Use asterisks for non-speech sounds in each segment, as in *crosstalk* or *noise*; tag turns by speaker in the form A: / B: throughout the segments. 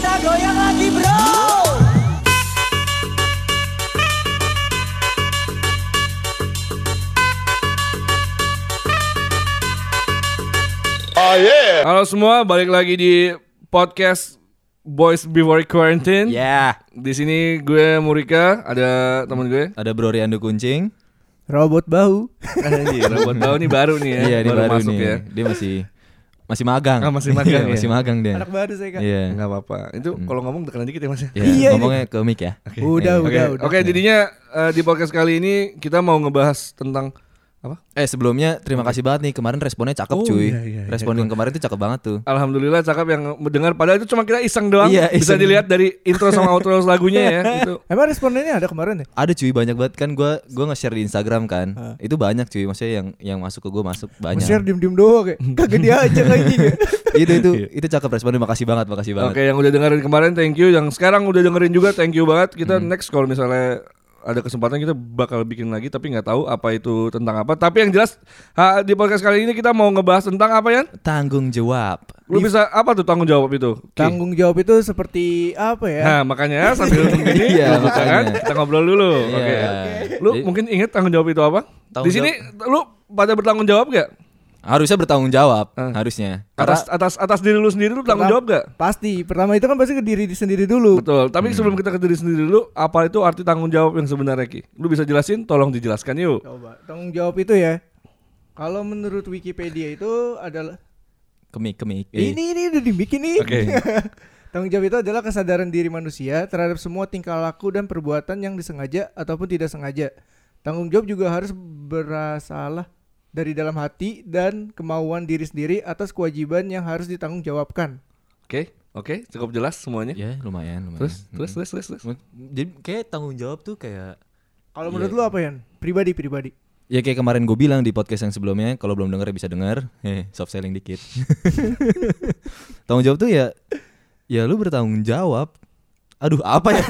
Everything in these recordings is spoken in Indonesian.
A: goyang lagi bro
B: Oh yeah.
C: Halo semua, balik lagi di podcast Boys Before Quarantine.
D: Ya,
C: Di sini gue Murika, ada teman gue.
D: ada Bro Riando Kuncing.
A: Robot bau
C: Anjir, buat tahu nih baru nih ya,
D: Iya, dia
C: baru,
D: baru
C: masuk
D: nih.
C: ya.
D: Dia masih masih magang.
C: Ah, masih magang
D: Iya,
C: ya.
D: masih magang dia.
A: Anak baru saya kan
D: Iya.
C: Enggak apa-apa. Itu kalau ngomong tekanan dikit ya Mas. ya?
D: Iya,
A: Iya, ini.
D: ngomongnya ke mic ya. Iya.
A: Udah
C: Oke,
A: udah udah
C: oke jadinya eh, di podcast kali ini kita mau ngebahas tentang apa?
D: Eh, sebelumnya terima kasih banget nih kemarin responnya cakep
C: Oh,
D: cuy.
C: iya, iya, iya.
D: Respon yang kemarin tuh cakep banget tuh.
C: Alhamdulillah cakep yang mendengar padahal itu cuma kita iseng doang.
D: Iya,
C: Bisa
D: iseng.
C: dilihat dari intro sama outro lagunya ya
D: *laughs*
C: itu.
A: Eh, Emang respondennya ada kemarin ya?
D: Ada cuy banyak banget kan gua gua nge-share di Instagram kan. Itu banyak cuy, maksudnya yang yang masuk ke gua masuk banyak.
A: Share diem-diem doang kayak Kagak dia aja lagi ya?
D: itu
C: *laughs*
D: itu itu cakep responnya makasih banget, makasih banget.
C: Oke, yang udah dengerin kemarin thank you, yang sekarang udah dengerin juga thank you banget. Kita
D: Hmm.
C: next kalau misalnya ada kesempatan kita bakal bikin lagi tapi nggak tahu apa itu tentang apa. Tapi yang jelas ha, di podcast kali ini kita mau ngebahas tentang apa ya?
D: Tanggung jawab.
C: Lu bisa apa tuh tanggung jawab itu? Ki?
A: Tanggung jawab itu seperti apa ya?
C: Nah, makanya sambil begini
D: *laughs* Iya,
C: duduk tangan,
D: makanya.
C: kita ngobrol dulu.
D: Iya.
C: Oke. Lu
D: Jadi-
C: mungkin inget tanggung jawab itu apa?
D: Tanggung
C: Di sini lu pada bertanggung jawab gak?
D: Harusnya bertanggung jawab, harusnya. Karena
C: Atas atas atas diri lu sendiri lu tanggung jawab gak?
A: Pasti, pertama itu kan pasti ke diri sendiri dulu
C: Betul. Tapi sebelum kita ke diri sendiri dulu, apa itu arti tanggung jawab yang sebenarnya Ki? Lu bisa jelasin? Tolong dijelaskan yuk.
A: Coba, tanggung jawab itu ya Kalau menurut Wikipedia itu adalah
D: kemik kemik.
A: Ini ini udah dibikin nih.
C: Iya, Oke.
A: *laughs* Tanggung jawab itu adalah kesadaran diri manusia terhadap semua tingkah laku dan perbuatan yang disengaja ataupun tidak sengaja. Tanggung jawab juga harus berasalah dari dalam hati dan kemauan diri sendiri atas kewajiban yang harus ditanggung jawabkan.
C: Oke, oke, cukup jelas semuanya.
D: Ya, lumayan, lumayan.
C: Terus, terus, terus, terus, terus. *laughs*
D: Jadi kayak tanggung jawab tuh kayak
A: Kalau
C: Iya,
A: menurut lu apa ya? Pribadi pribadi.
D: Ya kayak kemarin gue bilang di podcast yang sebelumnya Kalau belum denger bisa denger eh, Soft selling dikit *laughs* Tanggung jawab tuh ya Ya lu bertanggung jawab Aduh apa ya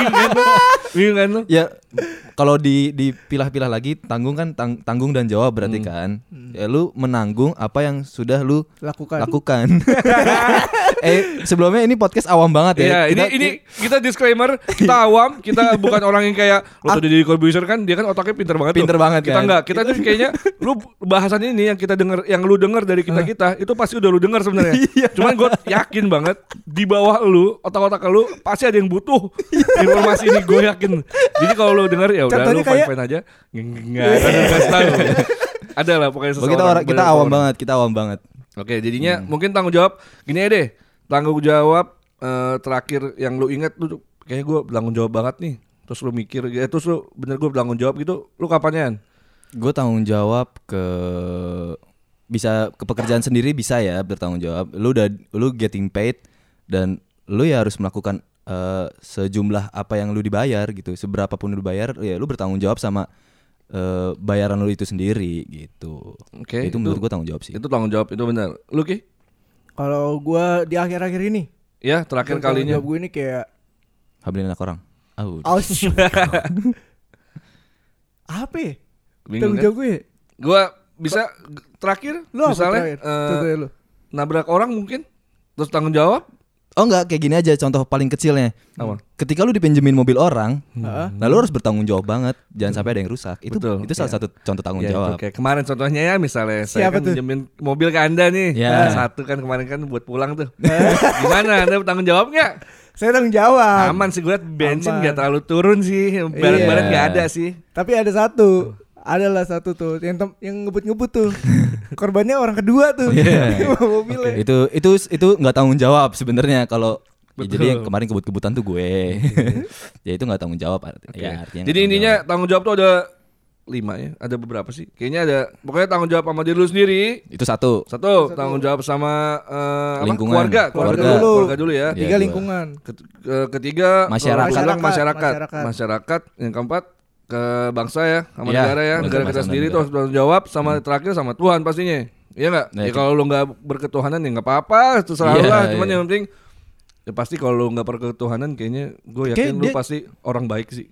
D: *laughs*
C: Bingung kan lu?
D: Ya kalau di dipilah-pilah lagi Tanggung kan tang- tanggung dan jawab berarti kan Ya lu menanggung apa yang sudah lu
A: Lakukan.
D: lakukan *laughs* Eh sebelumnya ini podcast awam banget
C: Iya,
D: ya
C: ini
D: Kita-
C: ini kita disclaimer, kita awam, *laughs* kita bukan orang yang kayak lu tadi jadi Corbuzier kan dia kan otaknya pinter banget. tuh.
D: Pinter banget
C: Kita
D: kan.
C: enggak, kita tuh
D: *laughs*
C: kayaknya lu bahasan ini yang kita denger, yang lu denger dari kita kita itu pasti udah lu denger
D: *laughs*
C: sebenarnya.
D: Iya.
C: Cuman gue yakin banget di bawah lu otak-otak lu pasti ada yang butuh
D: Iya.
C: informasi ini gue yakin. Jadi kalau lu denger ya udah lu
A: Contohnya kayak-
C: fine-fine aja. Enggak, enggak tahu. Ada lah pokoknya
D: Oh,
C: seseorang.
D: kita, Iya. orang- kita
C: bener,
D: awam
C: orang.
D: banget Hmm. Kita awam banget
C: Oke, jadinya mungkin tanggung jawab gini aja deh. Tanggung jawab eh, terakhir yang lu ingat lu kayaknya gue bertanggung jawab banget nih. Terus lu mikir gitu, terus lu bener gue bertanggung jawab gitu. Lu kapannya?
D: Gue tanggung jawab ke bisa ke pekerjaan sendiri bisa ya bertanggung jawab. Lu udah lu getting paid dan lu ya harus melakukan eh, sejumlah apa yang lu dibayar gitu. Seberapa pun lu bayar ya lu bertanggung jawab sama eh, bayaran lu itu sendiri gitu.
C: Oke,
D: itu, menurut gue tanggung jawab sih.
C: Itu tanggung jawab itu bener. Lu ki?
A: Kalau gua di akhir-akhir ini
C: Ya terakhir
A: tanggung
C: kalinya.
A: jawab gue ini kayak
D: Hamilin anak orang. Oh,
A: aus. apa ya?
C: Bingung
A: Tanggung
C: kan?
A: jawab gue. ya?
C: Gue bisa g- terakhir
A: Lu apa
C: misalnya
A: terakhir?
C: eh,
A: Contohnya lu.
C: nabrak orang mungkin terus tanggung jawab
D: oh enggak kayak gini aja contoh paling kecilnya.
C: Apa?
D: Ketika lu dipinjemin mobil orang,
A: Heeh.
D: nah lu harus bertanggung jawab banget. Jangan sampai ada yang rusak. Itu
C: Betul,
D: itu salah
C: iya.
D: satu contoh tanggung
C: Ya, itu
D: jawab.
C: kayak kemarin contohnya ya misalnya saya kan
A: Siapa tuh?
C: pinjemin mobil ke anda nih
D: Ya.
C: satu kan kemarin kan buat pulang
A: *laughs*
C: tuh
A: Eh?
C: gimana anda bertanggung jawab nggak
A: Saya tanggung jawab.
C: aman sih gue liat bensin
A: Ah, Aman.
C: nggak terlalu turun sih barang-barang
D: Iya.
C: nggak ada sih
A: Tapi ada satu, adalah satu tuh yang tem- yang ngebut-ngebut
D: *laughs*
A: tuh. Korbannya orang kedua tuh. *laughs*
D: Iya.
A: Bawa mobilnya.
D: itu itu itu nggak tanggung jawab sebenarnya kalau ya,
C: Betul.
D: jadi yang kemarin kebut-kebutan tuh
C: *laughs*
D: gue ya itu nggak tanggung jawab arti- ya, artinya nggak
C: jadi
D: tanggung
C: intinya tanggung jawab tuh ada lima ya ada beberapa sih kayaknya ada pokoknya tanggung jawab sama diri lu sendiri
D: jawab. itu satu
C: satu, tanggung jawab sama eh, apa?
D: Lingkungan.
C: keluarga
A: Keluarga
C: keluarga
A: dulu.
C: keluarga dulu ya
A: Tiga
D: Iya, dua.
A: lingkungan.
C: Ket- ke- ketiga
D: Masyarakat.
C: kalau bilang masyarakat. masyarakat
A: Masyarakat.
C: yang keempat ke bangsa ya sama
D: Iya,
C: negara ya
D: bangsa
C: negara
D: sama
C: kita sendiri
D: negara. Hmm.
C: terus harus jawab sama terakhir sama Tuhan pastinya Iya nggak
D: Nah,
C: ya,
D: itu.
C: kalau lu nggak berketuhanan ya nggak apa-apa terserah lu
D: Iya,
C: lah cuman
D: iya.
C: yang penting ya pasti kalau lu nggak berketuhanan kayaknya gue yakin
D: Kayak
C: lu
D: dia-
C: pasti orang baik sih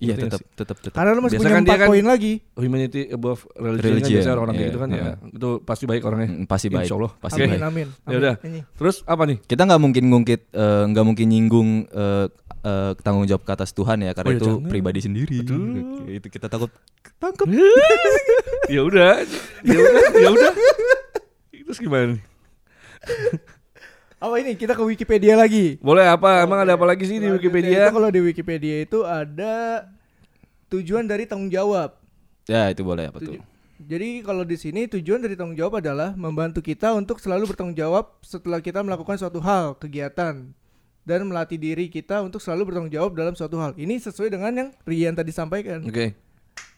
D: Iya
C: Ngerti nggak
D: tetap
C: sih?
D: tetap tetap.
A: Karena lu masih
C: Biasa
A: punya
C: kan dia
A: empat
C: kan-
A: poin lagi.
C: Humanity above religion, kan
D: Religion,
C: biasanya orang kayak
D: iya,
C: gitu kan ya. Itu pasti baik orangnya.
D: Mm, Pasti baik.
C: Insya Allah.
D: Pasti
C: Oke.
D: baik.
A: Amin, amin.
C: Ya udah.
A: Amin. Ini.
C: Terus apa nih?
D: Kita nggak mungkin ngungkit, eh, nggak mungkin nyinggung eh, eh, tanggung jawab ke atas Tuhan ya,
C: Oh,
D: karena
C: ya
D: itu
C: jangan.
D: pribadi sendiri. Gitu. Itu kita takut tangkap.
C: *laughs* ya udah. Ya udah, ya udah. Terus gimana nih?
A: Apa Oh, ini? Kita ke Wikipedia lagi.
C: Boleh apa? Emang ada apa lagi sih di
A: Selanjutnya
C: Wikipedia?
A: Itu kalau di Wikipedia itu ada tujuan dari tanggung jawab.
D: Ya itu boleh apa tuh?
A: Tuju- Jadi kalau di sini tujuan dari tanggung jawab adalah membantu kita untuk selalu bertanggung jawab setelah kita melakukan suatu hal, kegiatan dan melatih diri kita untuk selalu bertanggung jawab dalam suatu hal. Ini sesuai dengan yang Rian tadi sampaikan.
C: Oke.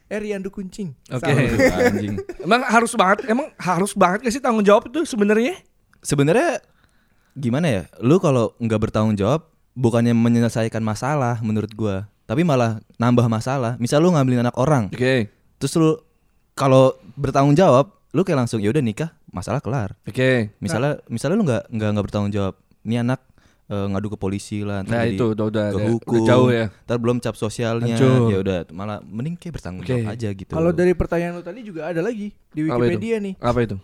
A: Eh Rian du kuncing.
C: Oke.
A: Salah.
D: Aduh, Iya, Anjing.
C: Emang harus banget, emang harus banget gak sih tanggung jawab itu sebenarnya?
D: Sebenarnya gimana ya? Lu kalau nggak bertanggung jawab, bukannya menyelesaikan masalah menurut gua, tapi malah nambah masalah. Misal lu ngambilin anak orang,
C: Oke.
D: terus lu kalau bertanggung jawab, lu kayak langsung ya udah nikah, masalah kelar.
C: Oke.
D: misalnya
C: Nah.
D: misalnya lu nggak nggak nggak bertanggung jawab ini anak eh, ngadu ke polisi lah ntar
C: Nah,
D: jadi
C: itu udah- udah-
D: ke
C: udah- udah
D: hukum,
C: jauh ya.
D: ntar belum cap sosialnya
C: Hancur.
D: ya udah malah mending kayak bertanggung
C: Oke.
D: jawab aja gitu
A: Kalau dari pertanyaan lo tadi juga ada lagi di
C: Apa itu?
A: Wikipedia nih.
C: Apa itu?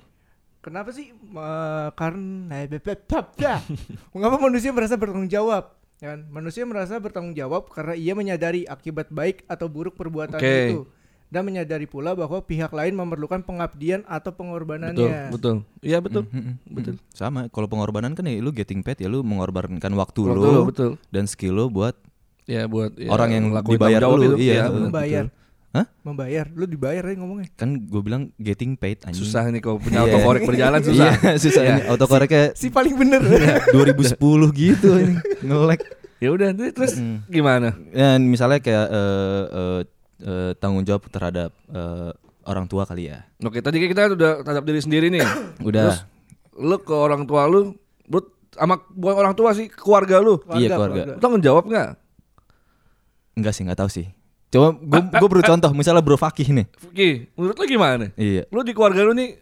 A: Kenapa sih eh, karena mengapa manusia merasa bertanggung jawab? Ya kan? Manusia merasa bertanggung jawab karena ia menyadari akibat baik atau buruk perbuatan
C: Oke.
A: itu dan menyadari pula bahwa pihak lain memerlukan pengabdian atau
C: Betul,
A: pengorbanannya.
C: betul. Iya betul.
A: Mm-hmm,
D: betul Hmm, sama kalau pengorbanan kan ya lu getting paid ya lu mengorbankan waktu,
C: Waktu
D: lu
C: lu, betul.
D: dan skill lu buat
C: Ya buat ya,
D: orang yang
C: ngelakuin
D: dibayar
C: tanggung jawab
D: lu
C: itu.
D: iya
C: Ya,
D: betul.
A: Membayar.
D: Hah?
A: Membayar, lu dibayar aja ngomongnya.
D: kan gue bilang getting paid anjing
C: susah nih kalau punya
D: Iya.
C: autocorrect berjalan susah.
D: Iya, *laughs* susah iya, ini autokoreknya
A: Si paling bener.
D: *laughs* 2010 gitu ini ngelek
C: Ya udah, nanti terus
A: Mm-hmm.
C: gimana?
D: Dan Ya, misalnya kayak eh, eh, eh, tanggung jawab terhadap eh, orang tua kali ya.
C: Oke, tadi kan kita udah terhadap diri sendiri nih.
D: Udah.
C: Terus lu ke orang tua lu, lu sama bukan orang tua sih, keluarga lu.
D: iya keluarga.
C: Lu tanggung jawab nggak?
D: Enggak sih, nggak tahu sih. Coba gue gue perlu contoh, misalnya Bro Fakih nih.
C: Ki, menurut lu gimana?
D: Iya.
C: Lu di keluarga lu nih,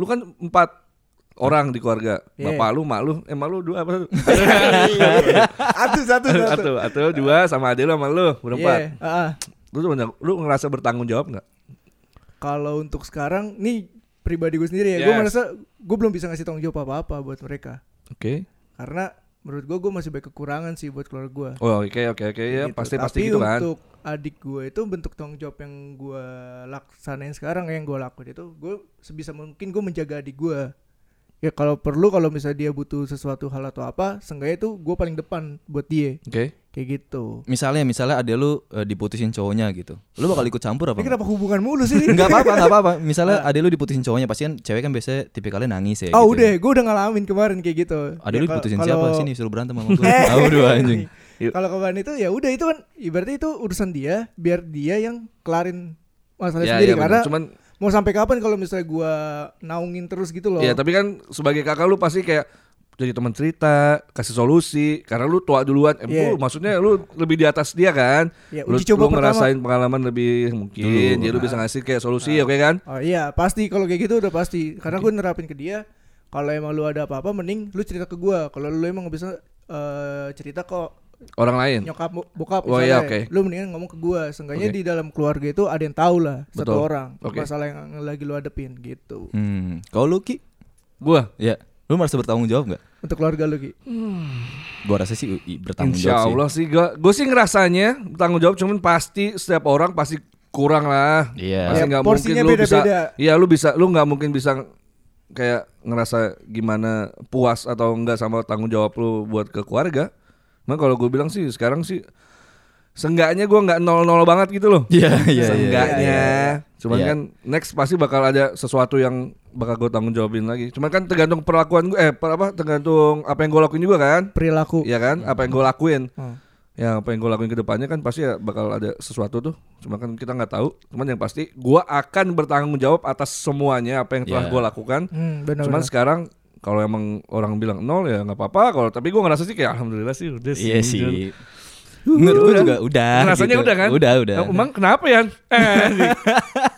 C: lu kan empat orang di keluarga.
A: Iya.
C: Bapak lu, mak lu, eh mak lu dua apa?
A: Satu satu satu.
C: Satu, atau dua sama adik lu sama lu berempat.
A: Iya, ah.
C: Lu tuh bener- lu ngerasa bertanggung jawab nggak?
A: Kalau untuk sekarang nih pribadi gue sendiri ya, gue
C: Yes.
A: merasa gue belum bisa ngasih tanggung jawab apa-apa buat mereka.
C: Oke.
A: karena menurut gue gue masih banyak kekurangan sih buat keluarga gue
C: Oh, oke oke oke ya
A: Gitu.
C: pasti
A: Tapi
C: pasti gitu kan.
A: untuk adik gue itu bentuk tanggung jawab yang gue laksanain sekarang yang gue lakuin itu gue sebisa mungkin gue menjaga adik gue ya kalau perlu kalau misalnya dia butuh sesuatu hal atau apa seenggaknya itu gue paling depan buat dia
C: Oke.
A: kayak gitu
D: Misalnya misalnya ada lu eh, diputusin cowoknya gitu. Lu bakal ikut campur apa?
A: ini
D: *laughs* nggak?
A: kenapa hubungan mulu sih ini?
D: Enggak apa-apa, enggak apa-apa. Misalnya ada lu diputusin cowoknya, pasti kan cewek kan biasanya tipikalnya nangis ya
A: *laughs* oh
D: gitu
A: udah
D: ya.
A: gue udah ngalamin kemarin kayak gitu
D: Ada lu
A: Ya, kalau-
D: diputusin siapa?
A: kalau- *laughs* Iya.
D: Sini suruh berantem sama gue. Aduh anjing.
C: Yuk.
A: Kalau kemarin itu ya udah itu kan ibaratnya itu urusan dia, biar dia yang kelarin masalah
C: Ya,
A: sendiri
C: ya, benar.
A: karena
C: Cuman-
A: mau sampai kapan kalau misalnya gua naungin terus gitu loh.
C: Iya, tapi kan sebagai kakak lu pasti kayak jadi teman cerita, kasih solusi karena lu tua duluan. Eh, lu
A: Iya.
C: maksudnya lu lebih di atas dia kan.
A: Iya,
C: lu
A: uji
C: lu
A: coba pertama.
C: ngerasain pengalaman lebih mungkin, jadi lu bisa ngasih kayak solusi, oke kan?
A: Oh iya, pasti kalau kayak gitu udah pasti. Karena gue nerapin ke dia, kalau emang lu ada apa-apa mending lu cerita ke gua. Kalau lu emang nggak bisa eh, cerita kok
C: Orang lain.
A: nyokap bo- bokap
C: Oh, iya,
A: misalnya,
C: oke.
A: lu mendingan ngomong ke gua. Seenggaknya
C: Oke.
A: di dalam keluarga itu ada yang tahu lah satu
C: Betul.
A: orang
C: Oke.
A: masalah yang lagi lu hadepin gitu.
D: Hmm. Kalau lu Ki,
C: Gua
D: ya. Lu merasa bertanggung jawab nggak?
A: Untuk keluarga lu Ki.
D: Gua rasa sih i- bertanggung
C: Insya
D: jawab sih.
C: Allah sih, gua, gua sih ngerasanya tanggung jawab cuman pasti setiap orang pasti kurang lah.
D: Iya.
C: Pasti
A: Ya,
C: nggak mungkin
A: porsinya
C: lu bisa.
A: beda-beda.
C: Iya, lu bisa, lu nggak mungkin bisa kayak ngerasa gimana puas atau enggak sama tanggung jawab lu buat ke keluarga. Nah kalau gue bilang sih sekarang sih Seenggaknya gua nggak nol-nol banget gitu loh.
D: Iya, iya, iya.
C: Seenggaknya. Cuman
D: Iya.
C: kan next pasti bakal ada sesuatu yang bakal gue tanggung jawabin lagi. Cuman kan tergantung perlakuan gue, eh per- apa tergantung apa yang gue lakuin juga kan.
A: Perilaku.
C: Iya kan?
D: Nah.
C: Apa yang gue lakuin?
A: Hmm.
C: Ya apa yang gue lakuin ke depannya kan pasti ya bakal ada sesuatu tuh. Cuma kan kita nggak tahu. Cuman yang pasti gue akan bertanggung jawab atas semuanya apa yang telah
D: Ya.
C: gue lakukan.
A: Hmm, benar.
C: Cuman sekarang kalau emang orang bilang nol ya nggak apa-apa. Kalau tapi gue ngerasa sih kayak alhamdulillah sih udah
D: Iya sih.
C: Jun.
D: Menurut gue juga udah.
C: Rasanya
D: gitu.
C: udah kan?
D: Udah, udah.
C: Emang kenapa ya?
D: *laughs*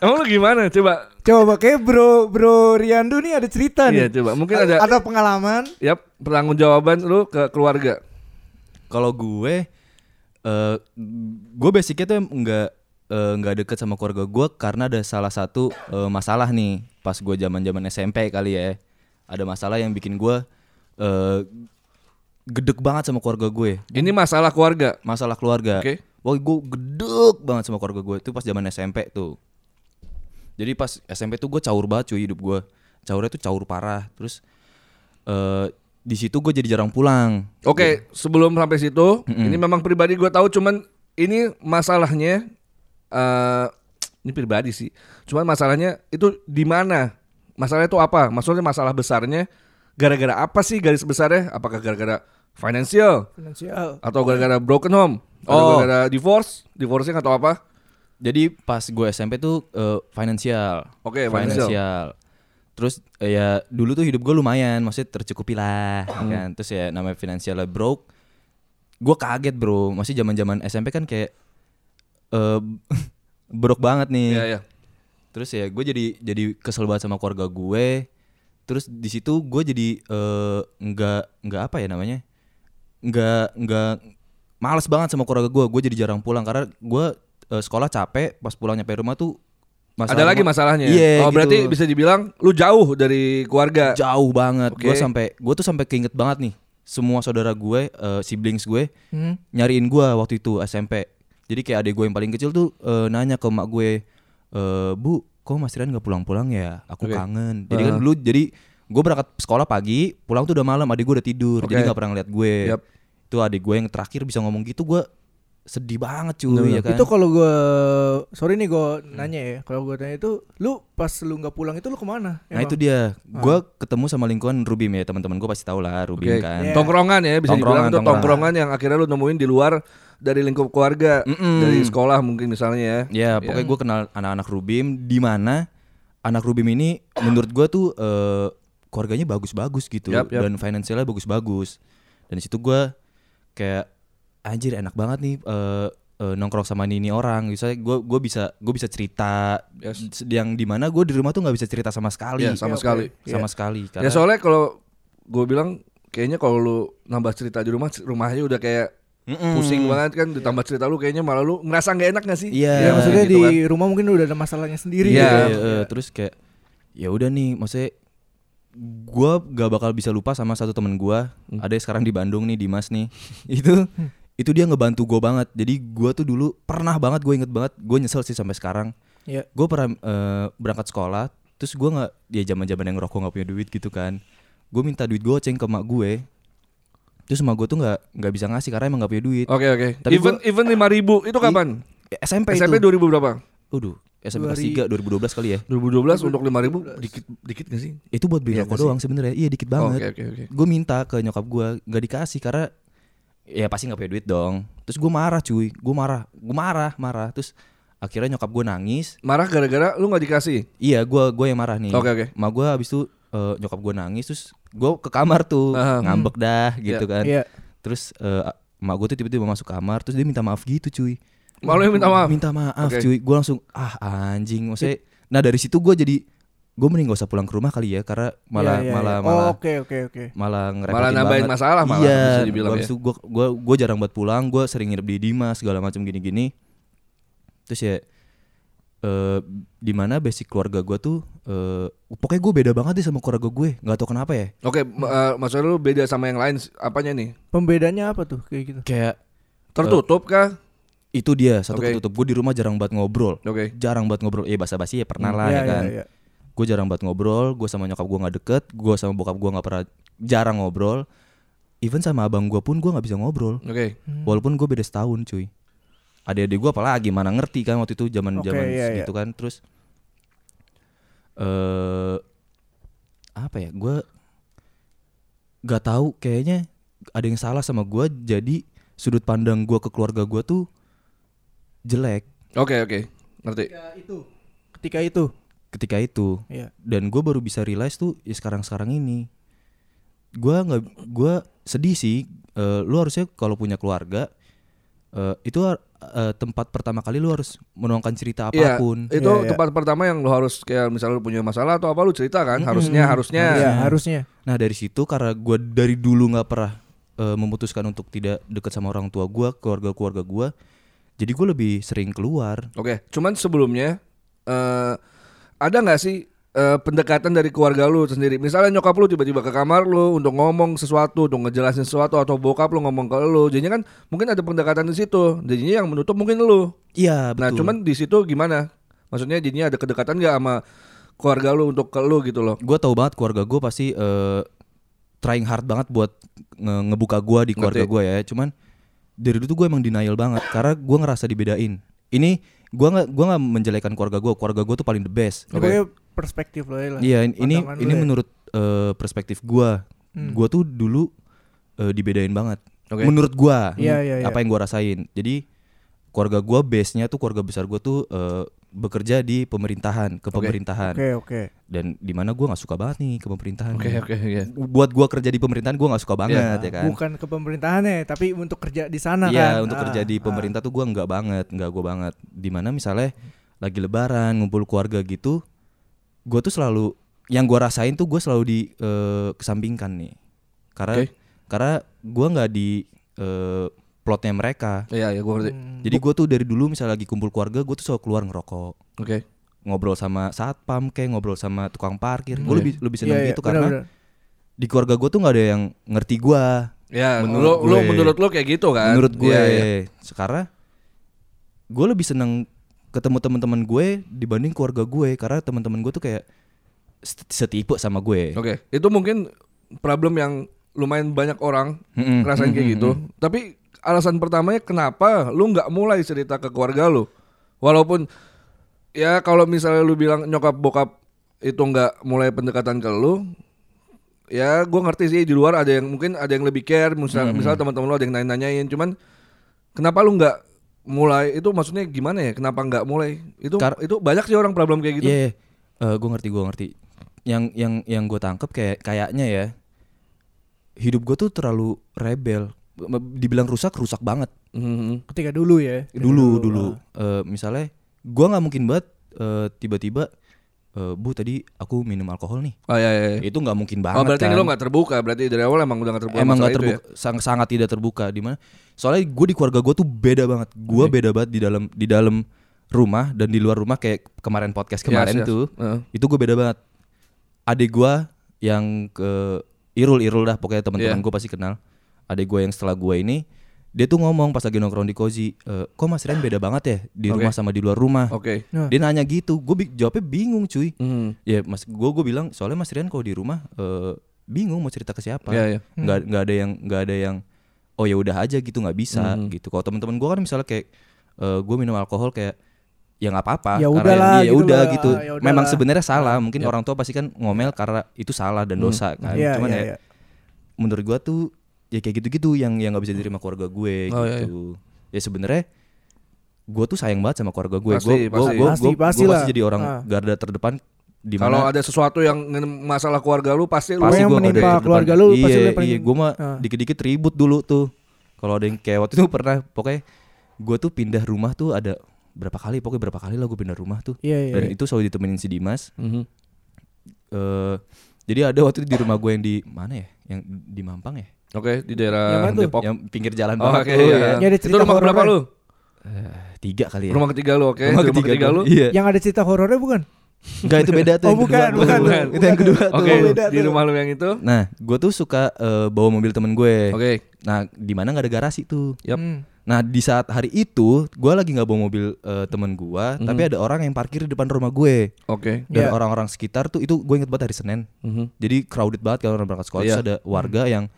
C: emang lu gimana? Coba.
A: Coba kayak bro bro Riandu nih ada
D: Kan.
A: cerita
C: Iya
A: nih.
C: coba. Mungkin
A: A-
C: ada.
A: atau pengalaman
C: Yap, pertanggung jawaban lu ke keluarga.
D: Kalau gue eh gue basicnya tuh nggak eh, nggak deket sama keluarga gue karena ada salah satu eh, masalah nih pas gue zaman zaman SMP kali ya ada masalah yang bikin gue eh gedek banget sama keluarga gue
C: Ini masalah keluarga.
D: masalah keluarga.
C: Oke.
D: Wah, gue gedek banget sama keluarga gue itu pas zaman SMP tuh. Jadi pas SMP tuh gue caur banget cuy hidup gue. Caurnya tuh caur parah. Terus eh di situ gue jadi jarang pulang.
C: Oke, sebelum sampai situ, ini memang pribadi gue tahu cuman ini masalahnya eh ini pribadi sih. Cuman masalahnya itu di mana? Masalahnya itu apa? Maksudnya masalah besarnya gara-gara apa sih garis besarnya? Apakah gara-gara financial
A: finansial
C: atau gara-gara broken home? Atau
D: Oh.
C: gara-gara divorce? Divorcing atau apa?
D: Jadi pas gue SMP tuh eh, finansial.
C: Oke, finansial.
D: Terus eh, ya dulu tuh hidup gue lumayan, maksudnya tercukupi lah
C: Hmm.
D: ya kan. Terus ya namanya finansialnya broke. Gue kaget bro, masih zaman-zaman SMP kan kayak eh *laughs* broke banget nih.
C: Iya, iya.
D: Terus ya gue jadi jadi kesel banget sama keluarga gue. Terus di situ gue jadi eh, nggak nggak apa ya namanya nggak nggak males banget sama keluarga gue. Gue jadi jarang pulang karena gue eh, sekolah capek. Pas pulang nyampe rumah tuh masalah
C: Ada lagi
D: rumah-
C: masalahnya.
D: Iya,
C: oh,
D: gitu.
C: berarti bisa dibilang lu jauh dari keluarga.
D: jauh banget.
C: Oke.
D: Gue sampai gue tuh sampai keinget banget nih semua saudara gue eh, siblings gue
C: Hmm.
D: nyariin gue waktu itu SMP. Jadi kayak adik gue yang paling kecil tuh eh, nanya ke mak gue, "Eh, bu, kok Mas Rian nggak pulang-pulang ya? Aku
C: Oke.
D: kangen. Jadi kan dulu jadi gue berangkat sekolah pagi, pulang tuh udah malam, adik gue udah tidur,
C: Oke.
D: jadi nggak pernah ngeliat gue.
C: Yap.
D: Itu adik gue yang terakhir bisa ngomong gitu gue sedih banget cuy ya kan.
A: Itu kalau gue sorry nih gue nanya ya, kalau gue tanya itu, lu pas lu nggak pulang itu lu kemana?
D: nah itu dia, gue ketemu sama lingkungan Rubim ya teman-teman gue pasti tau lah Rubim
C: Oke.
D: kan.
A: Iya.
C: Tongkrongan ya bisa dibilang
D: Tongkrongan,
C: itu tongkrongan.
D: tongkrongan.
C: yang akhirnya lu nemuin di luar dari lingkup keluarga,
D: Mm-mm.
C: dari sekolah mungkin misalnya ya.
D: Ya, pokoknya gue kenal anak-anak Rubim di mana anak Rubim ini menurut gue tuh eh, keluarganya bagus-bagus gitu
C: Yap, yap.
D: dan finansialnya bagus-bagus. Dan di situ gue kayak anjir enak banget nih eh, eh, nongkrong sama ini orang. Misalnya gue gue bisa gue bisa cerita
C: Yes.
D: yang di mana gue di rumah tuh nggak bisa cerita sama sekali.
C: Iya, sama
A: Oke.
C: sekali.
D: Sama sekali.
C: Ya
D: Karena
C: soalnya kalau gue bilang kayaknya kalau lu nambah cerita di rumah, rumahnya udah kayak
D: Mm-mm.
C: pusing banget kan ditambah cerita lu kayaknya malah lu ngerasa nggak enak gak sih?
D: Iya.
A: Ya,
D: Ya,
A: maksudnya
C: gitu
A: di
C: kan.
A: rumah mungkin udah ada masalahnya sendiri.
C: Iya.
A: gitu.
D: Iya, eh, terus kayak ya udah nih maksudnya gua gak bakal bisa lupa sama satu temen gua
C: Hmm.
D: ada yang sekarang di Bandung nih Dimas nih *laughs* itu itu dia ngebantu gua banget jadi gua tuh dulu pernah banget gue inget banget gue nyesel sih sampai sekarang
A: Iya.
D: gue pernah eh, berangkat sekolah terus gua nggak ya zaman zaman yang ngerokok nggak punya duit gitu kan gue minta duit goceng ke mak gue terus mak gue tuh nggak nggak bisa ngasih karena emang nggak punya duit
C: Oke oke.
D: Tapi
C: Even even lima ribu itu kapan?
D: SMP,
C: SMP
D: itu
C: 2000 berapa?
D: Waduh, SMP kelas 3 2012 kali ya
C: 2012 untuk lima ribu dikit dikit gak sih?
D: itu buat beli
C: Iya Oh,
D: rokok
C: nggak sih?
D: doang sebenarnya iya dikit banget
C: Oke oke oke.
D: gue minta ke nyokap gue nggak dikasih karena ya pasti nggak punya duit dong terus gue marah cuy gue marah gue marah marah terus akhirnya nyokap gue nangis
C: Marah gara-gara lu nggak dikasih?
D: iya gue gue yang marah nih
C: Oke, oke.
D: ma gue abis itu eh, nyokap gue nangis terus gue ke kamar tuh
C: Aha.
D: ngambek dah gitu kan
A: Iya.
D: terus eh, mak gue tuh tiba-tiba masuk kamar terus dia minta maaf gitu cuy
C: Malu yang Eh, minta maaf.
D: minta maaf
C: Oke.
D: cuy gue langsung ah anjing maksudnya nah dari situ gue jadi gue mending gak usah pulang ke rumah kali ya karena malah
A: Iya, iya,
D: malah
A: iya.
D: malah
A: Oh, oke oke oke.
D: malah ngerepotin
C: Malah nambahin
D: banget.
C: masalah malah,
D: iya
C: bisa dibilang
D: gua
C: ya.
D: abis itu gua gua gua jarang buat pulang gua sering nginep di Dimas segala macam gini-gini terus ya eh di mana basic keluarga gua tuh eh pokoknya gue beda banget deh sama keluarga gue nggak tau kenapa ya
C: Oke, ma- eh, maksudnya lu beda sama yang lain s- apanya nih?
A: Pembedanya apa tuh kayak gitu?
D: kayak
A: Eh.
C: Tertutup kah?
D: itu dia satu
C: Oke.
D: ketutup gue di rumah jarang banget ngobrol
C: Oke. Hmm,
D: jarang banget ngobrol ya basa-basi ya pernah lah
A: Iya,
D: ya kan
A: iya, iya.
D: gue jarang banget ngobrol gue sama nyokap gue nggak deket gue sama bokap gue nggak pernah jarang ngobrol even sama abang gue pun gue nggak bisa ngobrol
C: Oke.
A: Hmm.
D: Walaupun gue beda setahun cuy Adik-adik gue apalagi mana ngerti kan waktu itu zaman
A: Oke,
D: zaman
A: iya,
D: segitu kan Terus eh Apa ya gue Gak tahu kayaknya ada yang salah sama gue Jadi sudut pandang gue ke keluarga gue tuh jelek
C: Oke oke ngerti.
A: Ketika itu. Ketika itu.
D: ketika itu
A: Iya.
D: dan gue baru bisa realize tuh ya sekarang sekarang ini gue nggak gue sedih sih Eh, lu harusnya kalau punya keluarga eh, itu har- eh, tempat pertama kali lu harus menuangkan cerita
C: Iya
D: apapun
C: itu
A: Iya, iya.
C: tempat pertama yang lu harus kayak misalnya lu punya masalah atau apa lu cerita kan harusnya harusnya.
A: Iya, harusnya.
D: nah dari situ karena gue dari dulu nggak pernah eh, memutuskan untuk tidak dekat sama orang tua gua, keluarga-keluarga gua. Jadi gua lebih sering keluar.
C: Oke, cuman sebelumnya eh ada nggak sih eh, pendekatan dari keluarga lu sendiri? Misalnya nyokap lu tiba-tiba ke kamar lu untuk ngomong sesuatu, untuk ngejelasin sesuatu atau bokap lu ngomong ke lu. Jadinya kan mungkin ada pendekatan di situ. Jadinya yang menutup mungkin lu.
D: Iya,
C: Nah,
D: betul.
C: cuman di situ gimana? Maksudnya jadinya ada kedekatan nggak sama keluarga lu untuk ke lu gitu loh.
D: gue tahu banget keluarga gue pasti eh, trying hard banget buat nge- ngebuka gue di keluarga
C: Ngerti.
D: gue ya cuman dari dulu tuh gue emang denial banget karena gue ngerasa dibedain ini gue nggak gua nggak menjelekan keluarga gue keluarga gue tuh paling the best
A: Ini Ya, pokoknya perspektif lo ya lah.
D: iya ini ini
A: Pandangan lo
D: ini
A: ya. Hmm.
D: menurut eh, perspektif gue gue tuh dulu eh, dibedain banget
C: Oke.
D: menurut gue
A: Iya, iya, iya.
D: apa yang gue rasain jadi keluarga gue base nya tuh keluarga besar gue tuh eh, bekerja di pemerintahan kepemerintahan
A: Oke oke.
D: dan di mana gue nggak suka banget nih ke pemerintahan
C: oke, oke.
D: buat gua kerja di pemerintahan gua nggak suka banget ya kan
A: Iya. Bukan ke pemerintahannya tapi untuk kerja di sana kan.
D: iya untuk
A: Ah,
D: kerja di
A: ah.
D: pemerintah tuh gua nggak banget nggak gua banget dimana misalnya lagi lebaran ngumpul keluarga gitu gua tuh selalu yang gua rasain tuh gua selalu di eh, kesampingkan nih karena
C: Oke.
D: karena gua nggak di eh, plotnya mereka
C: Iya, iya gua ngerti.
A: Hmm.
D: jadi gua tuh dari dulu misalnya lagi kumpul keluarga gua tuh selalu keluar ngerokok
C: Oke.
D: ngobrol sama satpam kayak ngobrol sama tukang parkir gua lebih lebih seneng
A: Iya, iya,
D: gitu karena
A: benar-benar.
D: di keluarga gua tuh nggak ada yang ngerti gua
C: Ya,
D: Menurut
C: lu, lu
D: gue.
C: menurut lu kayak gitu kan?
D: menurut gue
C: Iya, iya.
D: sekarang gue lebih seneng ketemu teman-teman gue dibanding keluarga gue karena teman-teman gue tuh kayak set- setipe sama gue
C: Oke, itu mungkin problem yang lumayan banyak orang
D: Mm-mm.
C: ngerasain kayak gitu. Tapi alasan pertamanya kenapa lu nggak mulai cerita ke keluarga lu? Walaupun ya kalau misalnya lu bilang nyokap bokap itu nggak mulai pendekatan ke lu, ya gue ngerti sih di luar ada yang mungkin ada yang lebih care, misal misal teman-teman lu ada yang nanya-nanyain, cuman kenapa lu nggak mulai itu maksudnya gimana ya kenapa nggak mulai itu
D: Kar-
C: itu banyak sih orang problem kayak gitu
D: Iya, iya. Eh, gue ngerti, gue ngerti. Yang yang yang gue tangkep kayak kayaknya ya hidup gue tuh terlalu rebel. Dibilang rusak, rusak banget.
C: Mhm.
A: ketika dulu ya.
C: Iya,
D: dulu dulu Eh, misalnya gue nggak mungkin banget eh, tiba-tiba eh, bu tadi aku minum alkohol nih.
C: oh ya ya, ya.
D: Itu nggak mungkin banget.
C: Oh berarti
D: kan.
C: lo nggak terbuka, berarti dari awal emang udah nggak terbuka.
D: emang
C: masalah
D: nggak
C: itu ya?
D: terbuka sang- sangat tidak terbuka di mana soalnya gue di keluarga gue tuh beda banget gue beda banget di dalam di dalam rumah dan di luar rumah kayak kemarin podcast kemarin
C: Yes, yes.
D: tuh
C: Heeh.
D: itu gue beda banget adik gue yang ke irul irul dah pokoknya teman-teman
C: Iya.
D: gue pasti kenal adik gue yang setelah gue ini dia tuh ngomong pas lagi nongkrong di kozi "Eh, kok mas Ren beda banget ya di
C: Oke.
D: rumah sama di luar rumah
C: ya. Oke.
A: Nah.
D: dia nanya gitu gue jawabnya bingung cuy
C: Mhm.
D: ya mas gue gue bilang soalnya mas Rian kalau di rumah eh, bingung mau cerita ke siapa
A: Ya,
C: Iya, iya.
D: nggak nggak ada yang nggak ada yang oh ya udah aja gitu nggak bisa
A: Hmm.
D: gitu kalau teman-teman gue kan misalnya kayak gue minum alkohol kayak ya nggak apa-apa
A: Ya
D: karena
A: udahlah
D: ya
A: gitu
D: udah
A: lah,
D: gitu
A: ya udahlah. Ya.
D: memang sebenarnya salah mungkin orang tua pasti kan ngomel karena itu salah dan dosa kan
A: Iya,
D: cuman
A: iya,
D: ya
A: iya.
D: menurut gue tuh ya kayak gitu-gitu yang yang nggak bisa
A: Hmm.
D: diterima keluarga gue
C: Oh, iya,
D: gitu ya sebenarnya gue tuh sayang banget sama keluarga gue
C: Pasti,
D: gue
C: pasti.
D: gue gue
A: Pasti,
D: gue
A: pasti lah.
D: pasti jadi orang
A: Ah.
D: garda terdepan di
C: Kalau
D: mana
C: ada sesuatu yang nge- masalah keluarga lu pasti lu
A: Pasti yang
D: gua
A: menimpa
D: ada terdepan.
A: keluarga lu,
D: iya,
A: pasti lu yang
D: iya
A: paling-
D: gue mah
A: Ah.
D: dikit-dikit ribut dulu tuh kalau ada yang kayak waktu itu pernah pokoknya gue tuh pindah rumah tuh ada berapa kali pokoknya berapa kali lah gue pindah rumah tuh
A: Iya, iya,
D: dan
A: iya.
D: itu selalu ditemenin si Dimas
C: Mhm.
D: Eh, jadi ada waktu itu di rumah gue yang di mana ya yang di Mampang ya
C: Oke di
A: Yang
C: daerah
A: mana tuh?
C: Depok.
D: yang pinggir jalan
C: Oh,
D: banget
C: Oke.
D: tuh,
C: iya.
D: ya.
A: Ini ada
C: Itu
A: cerita
C: rumah
A: horor
C: berapa
A: ya?
C: lu? Iya.
D: Eh, tiga kali ya
C: Rumah ketiga lu, oke. Di Rumah, ketiga,
D: gua.
C: lu.
D: iya
A: Yang ada cerita horornya bukan?
D: Enggak itu beda tuh
A: Ya. Oh,
D: yang kedua
A: bukan,
D: tuh.
A: bukan,
C: bukan.
D: itu yang kedua tuh
C: Oke.
A: beda
C: Di
A: tuh.
C: rumah lu yang itu.
D: nah gue tuh suka eh, bawa mobil temen gue
C: Oke.
D: nah di mana nggak ada garasi tuh
C: Yap.
A: Hmm.
D: Nah di saat hari itu gue lagi nggak bawa mobil eh, temen gue, tapi ada orang yang parkir di depan rumah gue
C: Oke.
D: dan
A: Mhm. Iya.
D: orang-orang sekitar tuh itu gue inget banget hari Senin.
C: Mhm.
D: Jadi crowded banget kalau orang berangkat sekolah
C: Iya.
D: terus
A: Mhm.
D: ada warga yang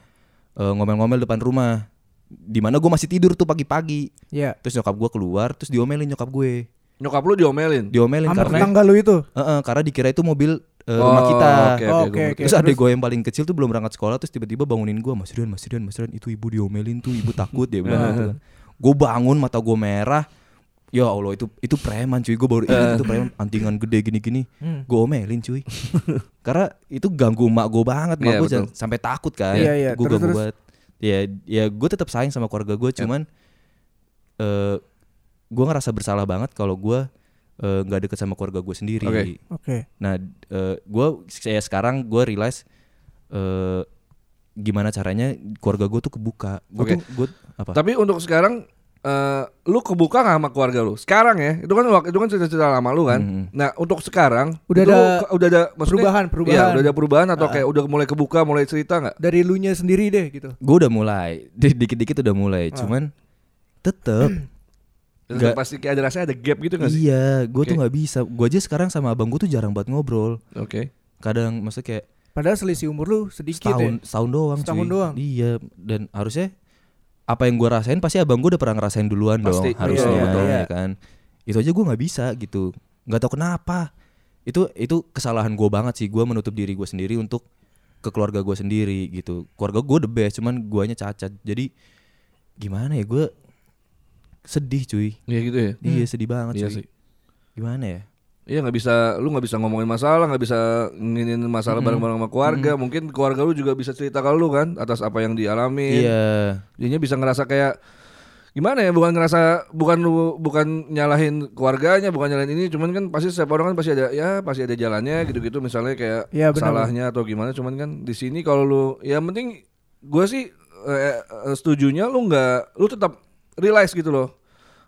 D: eh, ngomel-ngomel depan rumah. Dimana gue masih tidur tuh pagi-pagi.
A: Iya.
D: Terus nyokap gue keluar, terus diomelin nyokap gue,
C: Nyokap lu diomelin.
D: diomelin
A: Sama
D: karena
A: tetangga lu itu.
D: Eh, eh, karena dikira itu mobil eh, rumah kita.
C: Oke,
A: Oh,
C: oke,
A: Oke,
C: gua
A: oke.
D: Terus adik gue yang paling kecil tuh belum berangkat sekolah terus tiba-tiba bangunin gue Mas Rian, Mas Rian, Mas Rian itu ibu diomelin tuh ibu takut dia bilang gitu kan. Gue bangun mata gue merah. Ya Allah itu itu preman cuy gue baru ingat itu preman antingan gede gini-gini. Gue omelin cuy. Karena itu ganggu mak gue banget mak
C: Iya,
D: gue
C: betul.
D: jangan- sampai takut kan.
A: Iya, iya.
D: Gue
A: Terus,
D: ganggu
A: terus.
D: banget. Ya ya gue tetap sayang sama keluarga gue cuman eh gue ngerasa bersalah banget kalau gue eh, nggak deket sama keluarga gue sendiri.
C: Oke.
A: Oke.
D: Nah, gue saya sekarang gue realize eh gimana caranya keluarga gue tuh kebuka. Gue
C: Oke.
D: tuh gue apa?
C: Tapi untuk sekarang eh, lu kebuka gak sama keluarga lu? Sekarang ya, itu kan waktu itu kan cerita-cerita lama lu kan.
D: Mhm.
C: Nah, untuk sekarang
A: Udah
C: itu
A: ada
C: ke- udah ada maksudnya
A: perubahan, perubahan.
C: Iya, udah ada perubahan
D: Ah.
C: atau kayak udah mulai kebuka, mulai cerita nggak?
A: dari lu nya sendiri deh gitu.
D: Gue udah mulai, *laughs* Di- dikit-dikit udah mulai.
C: Ah.
D: Cuman tetep
C: *clears throat* Terus
D: Nggak.
C: Pasti kayak ada rasanya ada gap gitu gak sih?
D: iya, gue tuh
C: Oke.
D: nggak bisa. Gue aja sekarang sama abang gue tuh jarang banget ngobrol.
C: Oke.
D: Kadang maksudnya kayak
A: Padahal selisih umur lu sedikit
D: setahun
A: ya.
D: setahun doang cuy.
A: Setahun doang.
D: iya dan harusnya apa yang gua rasain pasti abang gua udah pernah ngerasain duluan
C: Pasti.
D: dong harusnya
C: Iya, betul.
D: ya kan itu aja gua nggak bisa gitu nggak tahu kenapa itu itu kesalahan gua banget sih gua menutup diri gua sendiri untuk ke keluarga gua sendiri gitu keluarga gua the best cuman guanya cacat jadi gimana ya gua sedih cuy
C: Iya gitu ya.
A: Hmm.
D: iya sedih banget
C: Iya
D: cuy
C: sih.
D: gimana ya
C: Iya nggak bisa, lu nggak bisa ngomongin masalah, nggak bisa nginin masalah
D: Mm-hmm.
C: bareng-bareng sama keluarga. Mungkin keluarga lu juga bisa cerita ke lu kan atas apa yang dialami.
D: iya
C: Jadinya bisa ngerasa kayak gimana ya? Bukan ngerasa, bukan lu, bukan nyalahin keluarganya, bukan nyalahin ini. Cuman kan pasti setiap orang kan pasti ada, ya pasti ada jalannya gitu-gitu. Misalnya kayak
A: Hmm. Iya, benar.
C: salahnya atau gimana. Cuman kan di sini kalau lu, ya penting gue sih eh, eh, setujunya lu nggak, lu tetap realize gitu loh.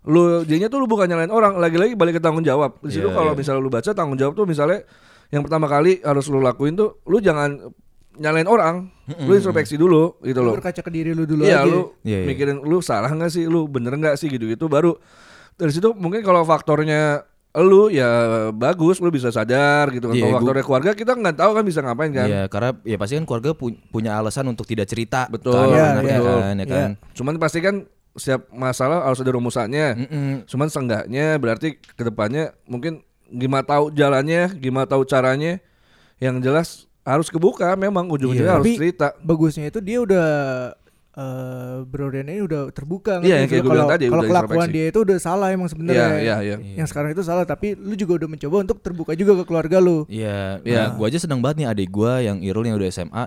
C: Lu jadinya tuh lu bukan nyalain orang, lagi-lagi balik ke tanggung jawab. Di situ
D: Iya,
C: kalau
D: iya.
C: misalnya lu baca tanggung jawab tuh misalnya yang pertama kali harus lu lakuin tuh lu jangan nyalain orang,
A: Hmm.
C: lu introspeksi dulu gitu loh.
A: Lu berkaca ke diri lu dulu
C: Iya
A: aja.
C: lu
D: Iya, iya.
C: mikirin lu salah nggak sih, lu bener nggak sih gitu-gitu baru dari situ mungkin kalau faktornya lu ya bagus lu bisa sadar gitu kan.
D: Iya,
C: kalau
D: gua-
C: faktornya keluarga kita nggak tahu kan bisa ngapain kan.
D: Iya, karena ya pasti kan keluarga pu- punya alasan untuk tidak cerita
C: Betul,
D: kan,
C: iya,
D: anaknya
C: betul.
D: kan, ya kan.
C: Cuman pasti kan setiap masalah harus ada rumusannya.
D: Mm-mm.
C: Cuman seenggaknya berarti kedepannya mungkin gimana tahu jalannya, gimana tahu caranya. Yang jelas harus kebuka memang ujung-ujungnya
A: Iya.
C: harus
A: Tapi-
C: cerita.
A: Bagusnya itu dia udah eh berorientasi udah terbuka ngerti
C: Iya, yang
A: nggak
C: kayak
A: sih?
C: gua bilang
A: kalau
C: tadi,
A: kalau
C: udah
A: kelakuan
C: introspeksi.
A: dia itu udah salah emang sebenarnya.
C: Iya, iya, iya.
A: Yang sekarang itu salah tapi lu juga udah mencoba untuk terbuka juga ke keluarga lu.
D: Iya,
C: Iya.
D: nah, gue aja senang banget nih adik gue yang Irul yang udah SMA,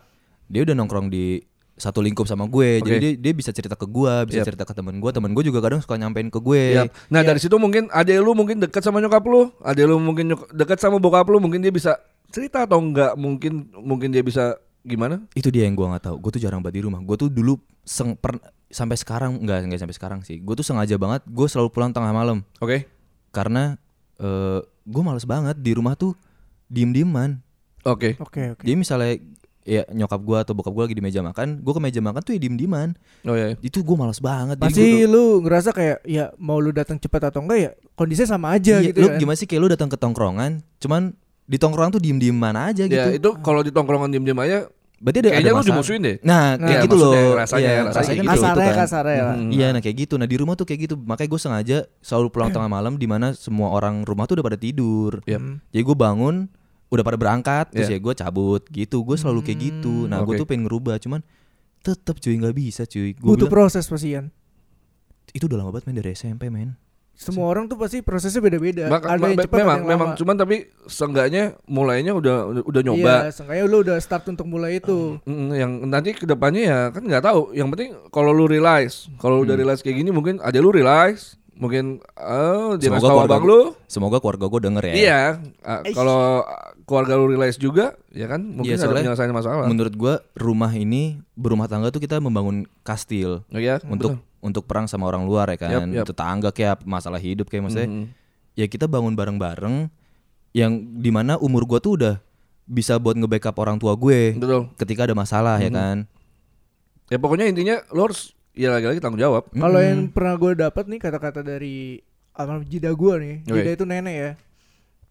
D: dia udah nongkrong di satu lingkup sama gue, jadi
C: Oke.
D: dia, dia bisa cerita ke gue, bisa
C: Yap.
D: cerita ke temen gue, temen gue juga kadang suka nyampein ke gue.
C: Iya. Nah dari situ mungkin ada lu mungkin dekat sama nyokap lu, ada lu mungkin nyok- dekat sama bokap lu, mungkin dia bisa cerita atau enggak mungkin mungkin dia bisa gimana?
D: Itu dia yang gue nggak tahu. Gue tuh jarang banget di rumah. Gue tuh dulu seng per- sampai sekarang nggak nggak sampai sekarang sih. Gue tuh sengaja banget, gue selalu pulang tengah malam
C: Oke.
D: karena eh gue males banget di rumah tuh diem-dieman.
C: Oke.
A: Oke, oke.
D: Jadi misalnya ya nyokap gue atau bokap gue lagi di meja makan, gue ke meja makan tuh ya diem-dieman.
C: Oh iya.
D: Itu gue males banget. Jadi gitu. gua
A: Pasti lu ngerasa kayak ya mau lu datang cepat atau enggak ya kondisinya sama aja
D: Iya,
A: gitu
D: lu
A: kan.
D: gimana sih kayak lu datang ke tongkrongan, cuman di tongkrongan tuh diem diem mana aja gitu.
C: Ya itu kalau di tongkrongan diem-diem aja
D: Berarti ada
C: kayaknya
D: ada
C: lu
D: masalah.
C: dimusuhin deh.
D: Nah, kayak
C: Iya,
D: gitu loh.
C: maksudnya rasanya-
D: Iya,
C: rasanya
D: rasanya
C: gitu.
D: kan kayak
A: Kasarnya
D: gitu kan.
A: kasarnya lah.
C: Mhm.
D: Iya, nah kayak gitu. Nah, di rumah tuh kayak gitu. Makanya gue sengaja selalu pulang tengah malam di mana semua orang rumah tuh udah pada tidur.
C: Yap.
A: Hmm.
D: Jadi gue bangun udah pada berangkat terus
C: Iya.
D: ya gue cabut gitu. Gue selalu kayak gitu. Nah, gue
C: Oke.
D: tuh pengen ngerubah cuman tetep cuy nggak bisa cuy. Gue
A: Butuh
D: bilang
A: proses pastian.
D: itu udah lama banget main dari SMP, men.
A: Semua orang tuh pasti prosesnya beda-beda.
C: Maka-
A: Ada yang
C: ma-
A: cepat,
C: memang
A: ada yang
C: memang
A: lama.
C: cuman tapi seenggaknya mulainya udah udah nyoba.
A: Iya, seenggaknya lu udah start untuk mulai itu.
C: Mm, yang nanti kedepannya ya kan nggak tahu. Yang penting kalau lu realize, kalau lu udah realize kayak gini mungkin ada lu realize, mungkin eh dia ngasih tahu
D: keluarga
C: abang lu.
D: Semoga keluarga gue denger ya.
C: Iya, ah, kalau ah, keluarga lu realize juga, ya kan mungkin
D: Iya,
C: ada
D: soalnya
C: penyelesaian masalah.
D: Menurut gue rumah ini berumah tangga tuh kita membangun kastil.
C: Oh, Iya,
D: untuk untuk perang sama orang luar ya kan
C: Yap, yap.
D: tetangga kayak masalah hidup kayak
C: betul.
D: maksudnya
C: Mm.
D: ya kita bangun bareng-bareng yang dimana umur gua tuh udah bisa buat nge-backup orang tua gue
C: Betul. Mm-hmm.
D: ketika ada masalah ya kan
C: gitu Ya pokoknya intinya lu harus ya lagi-lagi tanggung jawab.
A: Kalau yang pernah gue dapat nih kata-kata dari almarhum jida gue nih,
C: Oke.
A: jida itu nenek ya.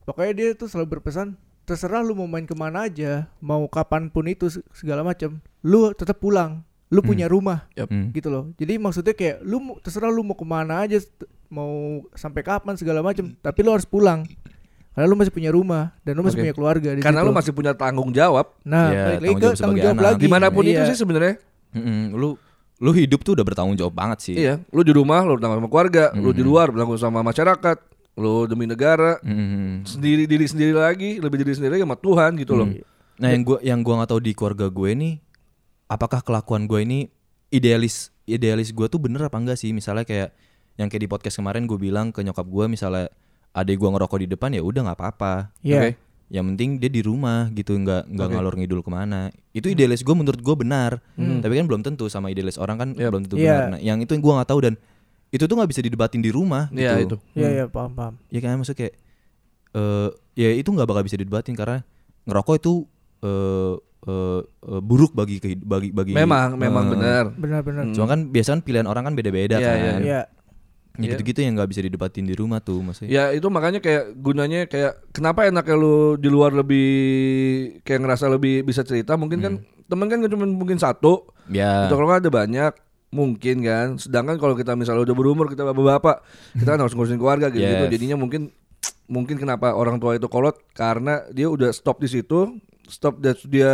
A: Pokoknya dia tuh selalu berpesan, terserah lu mau main kemana aja, mau kapanpun itu se- segala macam, lu tetap pulang, lu punya rumah
C: Ya.
D: Hmm.
A: gitu loh. Jadi maksudnya kayak lu mau- terserah lu mau kemana aja, st- mau sampai kapan segala macam,
C: Hmm.
A: tapi lu harus pulang karena lu masih punya rumah dan lu masih
C: Oke.
A: punya keluarga. di
C: Karena
A: situ.
C: lu masih punya tanggung jawab
A: nah
D: Iya,
A: balik lagi
D: tanggung
A: ke
D: jawab
A: tanggung
D: sebagai
A: jawab
D: anak.
A: lagi.
C: dimanapun itu
A: Iya.
C: sih sebenarnya.
D: Mm-mm. lu lu hidup tuh udah bertanggung jawab banget sih
C: Iya, lu di rumah lu bertanggung sama keluarga, lu di luar bertanggung sama masyarakat, lu demi negara,
D: Hmm. Mm-mm.
C: sendiri diri sendiri lagi, lebih diri sendiri lagi sama Tuhan gitu loh.
D: nah yang gua yang gua nggak tahu di keluarga gue nih apakah kelakuan gue ini idealis idealis gue tuh bener apa enggak sih misalnya kayak yang kayak di podcast kemarin gue bilang ke nyokap gue misalnya adek gue ngerokok di depan ya udah nggak apa-apa
A: Iya.
C: Oke.
D: yang penting dia di rumah gitu nggak nggak ngalor ngidul kemana itu idealis gue menurut gue benar
C: Hmm.
D: tapi kan belum tentu sama idealis orang kan belum tentu
A: Iya.
D: benar nah, yang itu yang gue nggak tahu dan itu tuh nggak bisa didebatin di rumah gitu
C: Iya, itu.
A: Iya iya paham paham.
D: ya kan maksudnya kayak eh ya itu nggak bakal bisa didebatin karena ngerokok itu eh eh, eh, buruk bagi kehi- bagi bagi
C: Memang, memang
D: Eh,
C: benar.
A: Benar benar.
D: cuma kan biasanya kan pilihan orang kan beda-beda
C: Iya,
D: kan
C: iya,
A: Iya.
D: Ya gitu-gitu yang nggak bisa didebatin di rumah tuh maksudnya
C: Ya itu makanya kayak gunanya kayak kenapa enaknya lu di luar lebih kayak ngerasa lebih bisa cerita mungkin
D: Hmm.
C: kan temen kan cuma mungkin satu
D: ya
C: atau kalau nggak ada banyak mungkin kan sedangkan kalau kita misalnya udah berumur kita bapak-bapak kita
D: *laughs*
C: kan harus ngurusin keluarga gitu, gitu
D: Yes.
C: jadinya mungkin mungkin kenapa orang tua itu kolot karena dia udah stop di situ stop dia, dia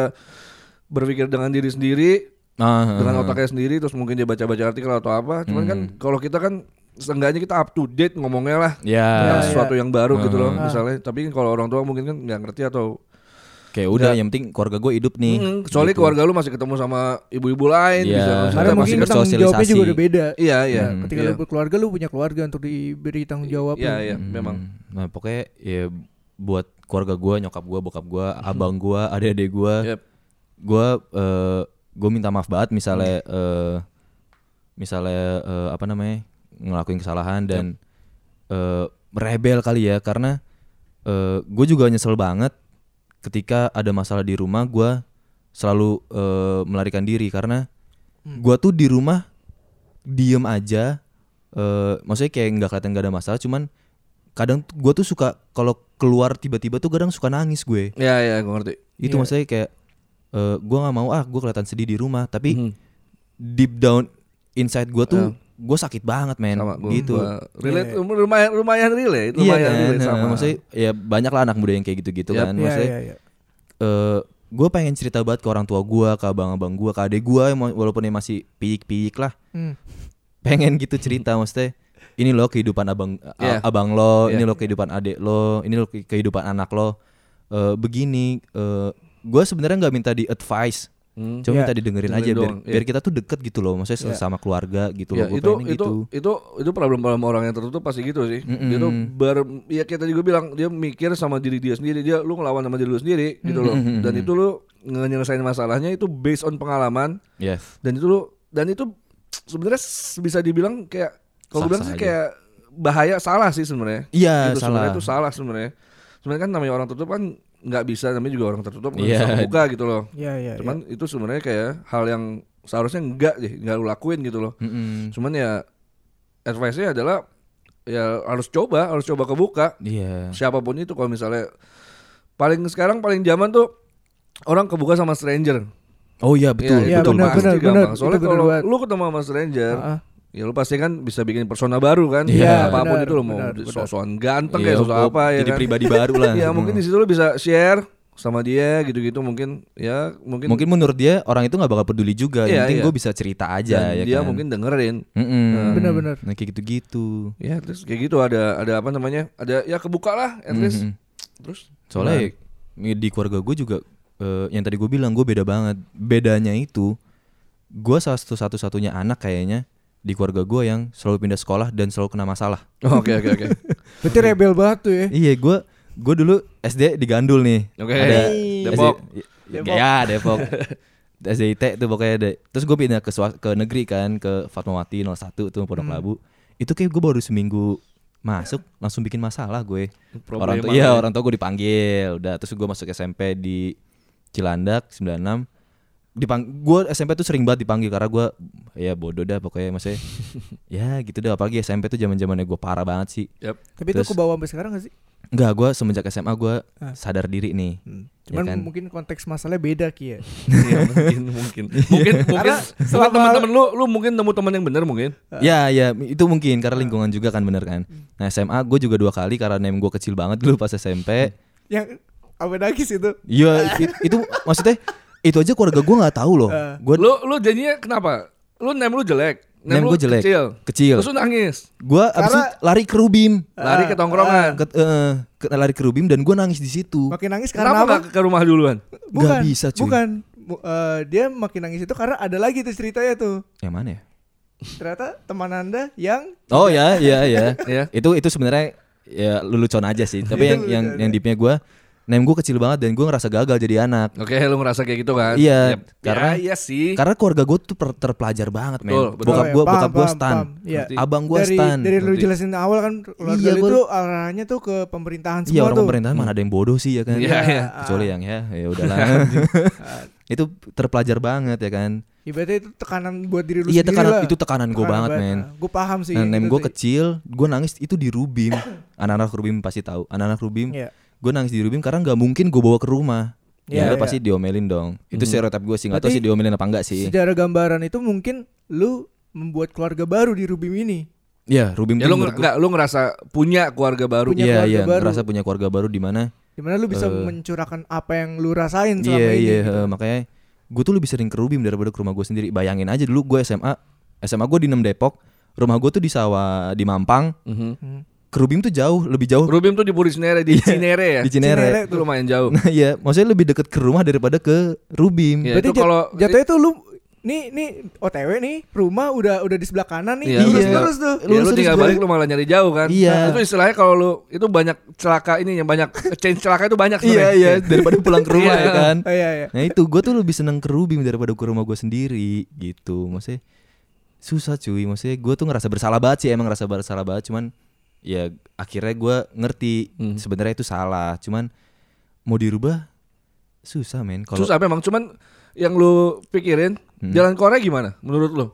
C: berpikir dengan diri sendiri
D: Ah,
C: dengan
D: ah, Hmm. ah.
C: otaknya sendiri terus mungkin dia baca-baca artikel atau apa cuman kan kalau kita kan seenggaknya kita up to date ngomongnya lah
D: ya
C: tentang
A: Iya,
C: sesuatu yang baru gitu loh
A: Ah.
C: misalnya tapi kalau orang tua mungkin kan nggak ngerti atau
D: kayak udah
C: Iya.
D: yang penting keluarga gue hidup nih
C: Mm, kecuali keluarga lu masih ketemu sama ibu-ibu lain
D: Gitu. Iya.
C: bisa langsung
D: Kita
A: Karena mungkin
D: masih
A: tanggung jawabnya
D: bersosialisasi.
A: juga udah beda.
C: Iya iya.
D: Hmm.
A: Ketika
C: iya.
A: lu berkeluarga lu punya keluarga untuk diberi tanggung jawab.
C: Iya
A: lu.
C: iya memang.
D: nah pokoknya ya buat keluarga gue nyokap gue bokap gue abang gue adik-adik gue
C: Yep.
D: gue eh gue minta maaf banget misalnya eh misalnya eh, apa namanya ngelakuin kesalahan dan eh rebel kali ya karena gue juga nyesel banget ketika ada masalah di rumah gue selalu eh, melarikan diri karena gue tuh di rumah diem aja eh maksudnya kayak nggak kelihatan gak ada masalah cuman kadang gue tuh suka kalau keluar tiba-tiba tuh kadang suka nangis gue
C: Iya iya gue ngerti.
D: itu maksudnya kayak eh gue nggak mau ah gue kelihatan sedih di rumah tapi
C: Mhm. Hmm.
D: deep down inside gue tuh gue sakit banget men
C: Iya. Sama gua,
D: gitu
C: gua relate lumayan lumayan relate
D: iya
C: lumayan
D: kan
C: relate sama.
D: nah, maksudnya ya banyak lah anak muda yang kayak gitu-gitu
C: Yap.
D: kan
A: Iya
D: maksudnya
A: iya iya.
D: gue Eh, pengen cerita banget ke orang tua gue ke abang-abang gue ke adik gue walaupun yang masih piyik-piyik lah
A: Hmm.
D: pengen gitu cerita maksudnya ini loh kehidupan abang
C: Iya.
D: a- abang lo
C: Iya.
D: ini lo kehidupan adik lo ini lo ke- kehidupan anak lo Eh, begini gue sebenarnya nggak minta di advice
C: Hmm.
D: cuma
A: Iya.
D: minta didengerin
C: Dengerin
D: aja biar,
C: doang, iya.
D: biar kita tuh deket gitu loh maksudnya sama keluarga gitu
C: Ya,
D: loh gue
C: itu
D: pengen
C: itu,
D: gitu
C: itu itu problem-problem orang yang tertutup pasti gitu sih.
D: Mm-mm.
C: Dia tuh ber ya kayak tadi gue bilang dia mikir sama diri dia sendiri, dia lu ngelawan sama diri lu sendiri gitu loh. Dan itu lu nyelesain masalahnya itu based on pengalaman
D: yes
C: dan itu lu dan itu sebenarnya s- bisa dibilang kayak kalau gue bilang
D: Sah-sah
C: sih
D: aja.
C: kayak bahaya salah sih sebenarnya. Itu
D: Iya, salah.
C: sebenarnya itu salah sebenarnya. Sebenarnya kan namanya orang tertutup kan nggak bisa namanya juga orang tertutup nggak
D: Iya.
C: bisa buka gitu loh.
A: Iya iya. iya.
C: Cuman itu sebenarnya kayak hal yang seharusnya enggak deh, enggak lu lakuin gitu loh.
D: Mm-mm.
C: Cuman ya advice-nya adalah ya harus coba, harus coba kebuka
D: iya
C: siapapun itu kalau misalnya paling sekarang paling zaman tuh orang kebuka sama stranger.
D: oh iya betul
A: Iya,
C: itu
D: betul
A: benar,
D: Pak.
C: pasti
A: benar,
C: gampang.
A: benar.
C: Soalnya
A: Itu benar
C: kalau
A: banget.
C: lu ketemu sama stranger,
A: Ah, ah.
C: ya lu pasti kan bisa bikin persona baru kan.
A: Iya,
C: apapun
A: benar,
C: itu lu mau
A: benar,
C: sosokan ganteng
D: Iya,
C: kayak sosok
D: gua
C: apa ya
D: jadi
C: kan.
D: pribadi
C: *laughs*
D: baru lah Hmm.
C: Ya mungkin di situ lu bisa share sama dia gitu-gitu mungkin ya mungkin,
D: mungkin menurut dia orang itu nggak bakal peduli juga
C: Iya,
D: yang penting
C: iya.
D: gue bisa cerita aja
C: dan
D: ya
C: dia
D: kan?
C: mungkin dengerin.
D: Mm-mm.
A: Benar-benar.
D: nah, kayak gitu-gitu
C: Ya terus kayak gitu ada ada apa namanya? Ada ya kebuka lah at least. Nah.
D: Mhm.
C: Terus
D: soalnya ya, di keluarga gue juga eh, yang tadi gue bilang gue beda banget bedanya itu gue salah satu satu satunya anak kayaknya di keluarga gue yang selalu pindah sekolah dan selalu kena masalah
C: Oh, oke oke
D: *laughs*
C: oke.
A: Berarti rebel banget tuh ya.
D: Iya, gue gue dulu SD digandul nih.
C: Oke.
D: Ada
C: Depok.
D: SD, ya
C: *laughs*
D: Depok. SDIT tuh pokoknya ada. Terus gue pindah ke swa- ke negeri kan ke Fatmawati 01 tuh Pondok
C: Hmm.
D: Labu. Itu kayak gue baru seminggu masuk langsung bikin masalah gue.
C: Problem
D: orang tua
C: banget
D: iya
C: ya.
D: orang tua gue dipanggil. Udah terus gue masuk SMP di Cilandak 96 dipang gue SMP tuh sering banget dipanggil karena gue ya bodoh dah
C: *laughs*
D: pokoknya maksudnya ya gitu dah apalagi SMP tuh zaman zamannya gue parah banget sih
C: Yap.
A: Tapi itu
D: Terus-
A: ke bawah sampai sekarang gak
C: Iya
A: sih?
D: Enggak, gue semenjak SMA gue
A: Ah. Hmm.
D: sadar diri nih. Ya
A: Cuman
D: kan?
A: mungkin konteks masalahnya beda Ki ya.
C: Iya, mungkin
D: *laughs*
C: mungkin. Mungkin mungkin
A: Karena selama-
C: teman-teman lu lu mungkin nemu teman yang benar mungkin.
D: Ya, ya itu mungkin karena
A: Ah.
D: lingkungan juga kan bener kan.
A: Hmm.
D: Nah SMA gue juga dua kali karena name gue kecil banget *laughs* dulu pas
A: Hmm.
D: SMP.
A: Yang apa Ya, nangis itu?
D: Iya, it- itu maksudnya itu aja keluarga gue nggak tahu loh.
A: Ah.
D: Gue
C: Lu lu jadinya kenapa? Lu name lu jelek.
D: name
C: lu
D: gue jelek, Iya.
C: Kecil.
D: kecil.
C: Terus lu nangis.
D: Gue abis itu
A: Karena-
D: lari ke Rubim,
C: Lari ke tongkrongan.
D: Ke- eh, ke- lari ke Rubim dan gue nangis di situ.
A: Makin nangis
C: Kenapa
A: karena apa?
C: nggak ke rumah duluan?
A: Bukan.
D: bisa, cuy.
A: Bukan. Bu- eh, dia makin nangis itu karena ada lagi tuh ceritanya tuh.
D: Yang mana ya?
A: Ternyata teman Anda yang
D: Oh ya, ya, ya.
C: *laughs* Iya.
A: Iya,
D: Itu itu sebenarnya ya lelucon aja sih. Tapi yang yang yang deepnya gue name gue kecil banget dan gue ngerasa gagal jadi anak
C: Oke, lu ngerasa kayak gitu kan?
D: Iya,
C: Yap.
D: karena-
C: ya, iya sih.
D: karena keluarga gue tuh per- terpelajar banget
C: Betul,
D: men
C: betul.
D: bokap
A: Oh, ya,
D: gue
A: paham,
D: bokap gue
A: paham,
D: stan
A: paham. Iya.
D: abang gue
A: dari,
D: stan
A: dari lu
C: Berarti.
A: jelasin awal kan keluarga
D: Iya,
A: lu
D: gua-
A: itu arahnya tuh ke pemerintahan
D: Iya
A: semua
D: orang
A: tuh.
D: pemerintah mana ada yang bodoh sih ya kan.
C: Iya, iya.
D: *laughs* Kecuali yang ya ya
A: *laughs*
D: udahlah. itu terpelajar banget ya kan.
A: Ibaratnya itu tekanan buat diri lu
D: Iya
A: sendiri
D: tekanan
A: lah.
D: itu tekanan gue banget men.
A: Gue paham sih.
D: Nah, name
A: itu
D: gue
A: tuh.
D: kecil, gue nangis itu di Rubim. *coughs* Anak-anak Rubim pasti tahu. Anak-anak Rubim,
A: Iya.
D: gue nangis di Rubim karena nggak mungkin gue bawa ke rumah.
A: Iya,
D: Ya,
A: iya. Hmm.
D: pasti diomelin dong. Itu stereotip gue sih, nggak tahu
A: Berarti
D: sih diomelin apa enggak sih.
A: Secara gambaran itu mungkin lu membuat keluarga baru di Rubim ini.
D: Iya, Rubim
C: Ya lu
D: tuh menurut
C: nger- nggak
D: gua-
C: lu ngerasa punya keluarga baru.
A: punya
D: Iya,
A: keluarga
D: iya,
A: baru.
D: ngerasa punya keluarga baru di mana?
A: Dimana lu bisa mencurahkan apa yang lu rasain selama
D: Eh. Iya,
A: ini.
D: iya,
A: gitu.
D: eh, makanya gue tuh lebih sering ke Rubim daripada ke rumah gue sendiri. Bayangin aja dulu gue SMA, SMA gue di 6 Depok, rumah gue tuh di sawah di Mampang.
C: Mhm.
D: Ke Rubim tuh jauh, lebih jauh
C: Rubim tuh di Purisinere di Cinere ya.
D: Iya, di Cinere.
C: Itu lumayan jauh.
D: Nah, *laughs* iya, maksudnya lebih deket ke rumah daripada ke Rubim.
C: Iya.
A: Berarti
C: itu kalau-
A: jat- jatuhnya tuh lu nih nih OTW nih rumah udah udah di sebelah kanan nih.
C: Iya,
A: terus
D: iya.
A: terus tuh.
C: Ya, lu
D: Lurus
C: tinggal
D: terus
C: balik lu malah nyari jauh kan.
D: Iya.
C: Itu istilahnya kalau lu itu banyak celaka ini yang banyak change celaka itu banyak
D: Iya,
C: sebenarnya.
D: iya, daripada pulang ke rumah ya
C: Iya.
D: kan.
A: Oh, iya iya.
D: Nah itu gue tuh lebih seneng ke Rubim daripada ke rumah gue sendiri gitu. Maksudnya susah cuy, maksudnya gue tuh ngerasa bersalah banget sih, emang ngerasa bersalah banget. Cuman ya akhirnya gue ngerti
A: Hmm.
D: sebenarnya itu salah. Cuman mau dirubah susah men. Kalau Hmm.
C: Susah memang cuman yang lu pikirin jalan Korea gimana menurut lu?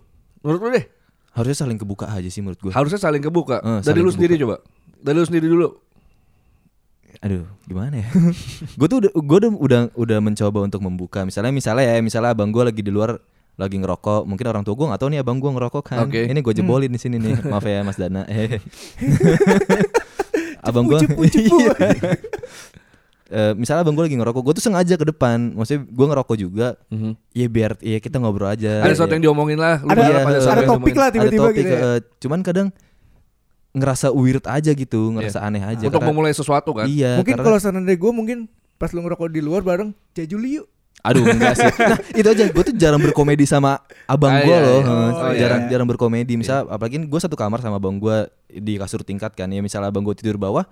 C: Menurut lu deh.
D: harusnya saling kebuka aja sih menurut gue.
C: Harusnya saling kebuka.
D: Eh,
C: Dari
D: saling
C: lu sendiri coba. Dari lu sendiri dulu.
D: aduh gimana ya *laughs* gue tuh udah gue udah, udah udah mencoba untuk membuka misalnya misalnya ya misalnya abang gue lagi di luar lagi ngerokok mungkin orang tua gue nggak tahu nih abang gue ngerokok kan
C: Oke.
D: ini
A: Hmm.
D: gue jebolin di sini nih maaf ya mas
A: *laughs*
D: dana abang gue
A: Cepu,
D: *laughs*
A: cepu, cepu.
D: Eh, misalnya abang gue lagi ngerokok gue tuh sengaja ke depan maksudnya gue ngerokok juga ya biar ya kita ngobrol
C: Ada
D: aja Ya.
C: sesuatu yang diomongin lah. Lu
A: Ada-
C: berharap
D: ada
C: sesuatu yang diomongin.
A: topik lah. tiba-tiba
D: ada topik,
A: gitu ya.
D: eh, cuman kadang ngerasa weird aja gitu ngerasa aneh aja
C: Untuk
D: karena-
C: memulai sesuatu kan.
D: iya
A: Iya. mungkin
D: karena-
A: kalau saran dari gue mungkin pas lu ngerokok di luar bareng jajuli yuk.
D: Aduh enggak sih. *laughs* Nah, itu aja gue tuh jarang berkomedi sama abang
C: Ah,
D: gue
C: iya,
D: loh.
C: iya.
D: Heeh,
A: Oh, iya.
D: jarang jarang berkomedi. Misal apalagi gue satu kamar sama abang gue di kasur tingkat kan. Ya misalnya abang gue tidur bawah,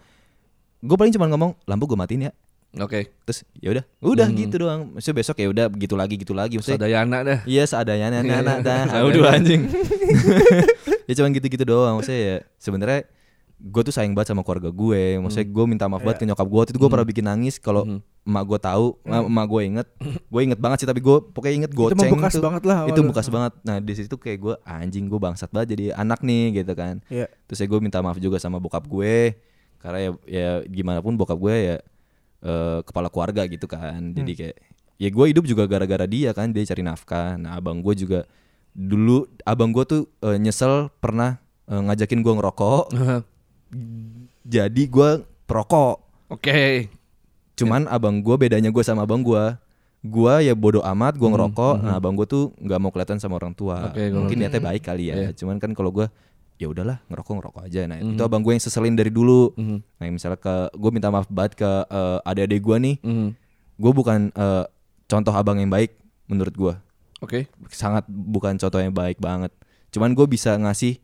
D: gue paling cuma ngomong lampu gue matiin ya.
C: Oke.
D: Terus ya udah, udah gitu doang. Maksudnya besok ya udah gitu lagi gitu lagi. Maksudnya
C: Sadayana dah.
D: Iya seadanya nah, nah, nah, nah.
C: Seadanya.
D: Aduh anjing. *laughs* ya cuman gitu-gitu doang maksudnya ya. Sebenarnya gue tuh sayang banget sama keluarga gue. Maksudnya gue minta maaf banget ke nyokap gue. Waktu itu gue pernah bikin nangis kalau emak gue tahu, emak- emak gue inget. Gue inget banget sih tapi gue pokoknya inget
A: mah
D: goceng
A: bekas
D: tuh.
A: banget lah sama
D: Itu
A: lu.
D: bekas banget. Nah, di situ kayak gue anjing gue bangsat banget jadi anak nih gitu kan.
A: Iya.
D: Terus ya gue minta maaf juga sama bokap gue karena ya ya gimana pun bokap gue ya eh, kepala keluarga gitu kan. Jadi kayak ya gue hidup juga gara-gara dia kan dia cari nafkah. Nah, abang gue juga dulu abang gue tuh eh, nyesel pernah eh, ngajakin gue ngerokok. jadi gue perokok.
C: Oke.
D: Cuman abang gue bedanya gue sama abang gue gue ya bodoh amat gue ngerokok nah abang gue tuh nggak mau kelihatan sama orang tua
C: Oke, gua
D: mungkin niatnya baik kali ya cuman kan kalau gue ya udahlah ngerokok ngerokok aja nah itu abang gue yang seselin dari dulu nah misalnya ke gue minta maaf banget ke eh, adik-adik gue nih
C: Mhm.
D: gue bukan eh, contoh abang yang baik menurut gue
C: Oke.
D: sangat bukan contoh yang baik banget cuman gue bisa ngasih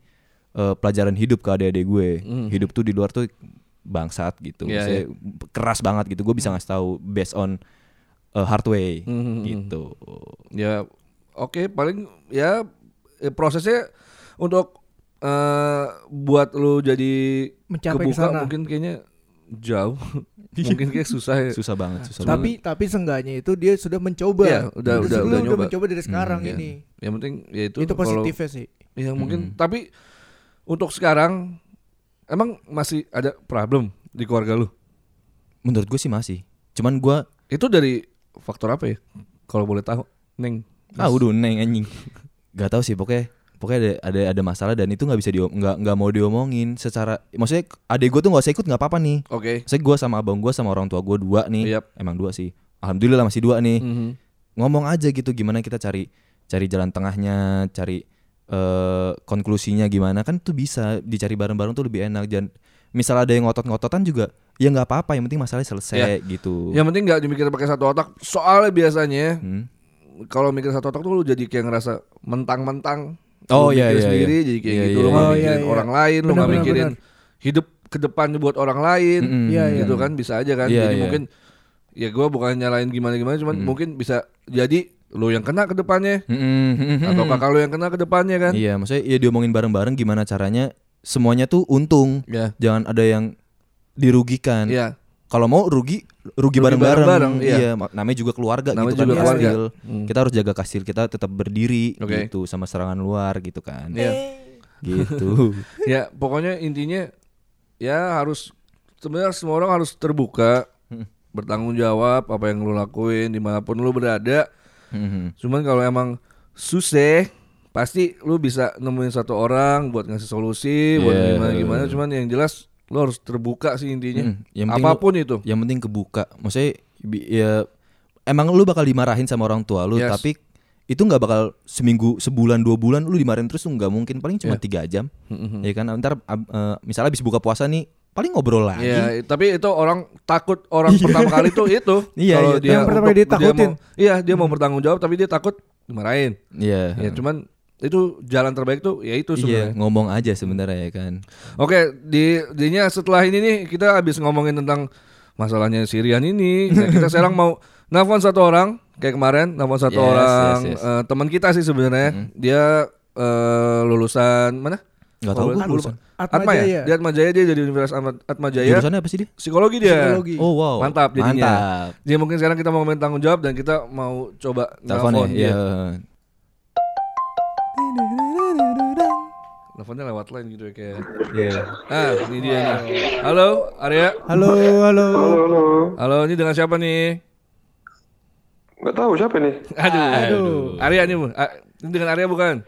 D: eh, pelajaran hidup ke adik-adik gue hidup tuh di luar tuh bangsat gitu
C: Mm-hmm. Iya,
D: Maksudnya keras banget gitu gue bisa ngasih tahu based on eh, hard way
C: Mm-hmm.
D: gitu
C: Ya oke paling ya eh, prosesnya untuk eh, buat lu jadi
A: Mencapai
C: kebuka
A: kesana.
C: mungkin kayaknya
A: *laughs*
C: jauh. mungkin kayak susah ya.
D: susah banget susah banget
A: Tapi tapi seenggaknya itu dia sudah mencoba.
C: Iya, udah-
A: Terus
C: udah-
A: lu
C: udah nyoba.
A: mencoba dari sekarang
C: Ya.
A: ini.
C: Yang penting ya itu
A: Itu
C: kalau-
A: positifnya sih.
C: Ya mungkin tapi untuk sekarang emang masih ada problem di keluarga lu.
D: menurut gue sih masih cuman gue
C: Itu dari faktor apa ya? Kalau boleh tahu, Neng.
D: ah udah neng anjing gak tau sih pokoknya pokoknya ada ada, ada masalah dan itu nggak bisa diom nggak nggak mau diomongin secara maksudnya adik gue tuh nggak usah ikut nggak apa-apa nih
C: Oke.
D: Saya gue sama abang gue sama orang tua gue dua nih,
C: Yap.
D: emang dua sih. Alhamdulillah masih dua nih.
C: Mhm.
D: Ngomong aja gitu gimana kita cari cari jalan tengahnya, cari eh konklusinya gimana kan tuh bisa dicari bareng-bareng tuh lebih enak. Dan misal ada yang ngotot-ngototan juga ya nggak apa-apa, yang penting masalahnya
C: Iya.
D: selesai gitu.
C: Yang penting nggak dimikir pakai satu otak. Soalnya biasanya
D: Hmm.
C: kalau mikir satu otak tuh lu jadi kayak ngerasa mentang-mentang.
D: Oh,
C: Lu
D: iya,
C: mikir
D: iya,
C: sendiri
D: iya.
C: jadi kayak
D: Iya,
C: gitu.
D: iya,
C: lu nggak
A: iya.
C: mikirin
A: Iya, iya.
C: orang lain, lu nggak
A: Benar, benar,
C: mikirin hidup ke depan buat orang lain.
D: Mm-mm.
A: Iya, iya.
C: Gitu kan bisa aja kan.
D: Iya,
C: jadi
D: iya.
C: mungkin ya gua bukan nyalain gimana gimana cuman mungkin bisa jadi lu yang kena ke depannya atau kakak lu yang kena ke depannya kan
D: Iya, maksudnya ya diomongin bareng-bareng gimana caranya semuanya tuh untung.
C: Iya.
D: Jangan ada yang dirugikan.
C: Iya.
D: Kalau mau rugi rugi
C: Rugi
D: bareng-bareng.
C: bareng-bareng, iya.
D: mak- namanya juga keluarga
C: Namanya
D: gitu kan.
C: juga
D: ya,
C: keluarga. Hmm.
D: still. Kita harus jaga kastil kita tetap berdiri
C: Oke.
D: gitu sama serangan luar gitu kan.
C: Iya.
D: *laughs* Gitu.
C: ya pokoknya intinya ya harus sebenarnya semua orang harus terbuka
D: Hmm.
C: bertanggung jawab apa yang lu lakuin dimanapun lu berada
D: Mhm.
C: cuman kalau emang susah pasti lu bisa nemuin satu orang buat ngasih solusi buat
D: Iya.
C: gimana gimana cuman yang jelas lu harus terbuka sih intinya
D: Mm, yang penting
C: apapun itu
D: Yang penting kebuka. Maksudnya bi- ya emang lu bakal dimarahin sama orang tua lu
C: Yes.
D: tapi itu nggak bakal seminggu sebulan dua bulan lu dimarahin terus tuh nggak mungkin paling
C: Iya.
D: cuma tiga jam
C: Mm-hmm.
D: ya kan ntar ab- eh, misalnya habis buka puasa nih paling ngobrol lagi
C: Iya, tapi itu orang takut orang pertama kali tuh itu.
D: *laughs* Iya,
C: Kalau
D: iya.
C: dia
A: Yang pertama
C: untuk-
A: kali ditakutin.
C: dia mau- iya, dia
D: Hmm.
C: mau bertanggung jawab tapi dia takut dimarahin.
D: Iya.
C: Ya cuman itu jalan terbaik tuh ya itu
D: Iya,
C: sebenarnya.
D: ngomong aja sebenarnya ya kan
C: Oke, di dinya setelah ini nih kita habis ngomongin tentang masalahnya Sirian ini. Nah,
D: *laughs*
C: kita sekarang mau nelfon satu orang kayak kemarin nelfon satu
D: Yes,
C: orang
D: yes, Mm-hmm. yes.
C: eh, teman kita sih sebenarnya. Dia eh, lulusan mana?
D: Gak tahu
C: Oh,
D: gue
C: lupa.
D: lulusan
A: Atma
C: Atma
A: Jaya.
C: ya? Dia Atma Jaya dia jadi Universitas Atma, Atma Jaya.
D: Jurusannya apa sih dia?
C: Psikologi dia.
A: Psikologi.
D: Oh wow
C: Mantap jadinya.
D: Mantap
C: Jadi mungkin sekarang kita mau ngomongin tanggung jawab dan kita mau coba
D: Teleponnya
C: nelfon
D: iya.
C: dia. Teleponnya lewat line gitu ya kayak.
D: Iya.
C: Ah, ini dia nih. Halo, Arya.
A: Halo, halo.
B: Halo, halo.
C: Halo, ini dengan siapa nih?
B: Gak tahu siapa nih?
C: Aduh. Arya nih, Bu. Ah, ini dengan Arya bukan?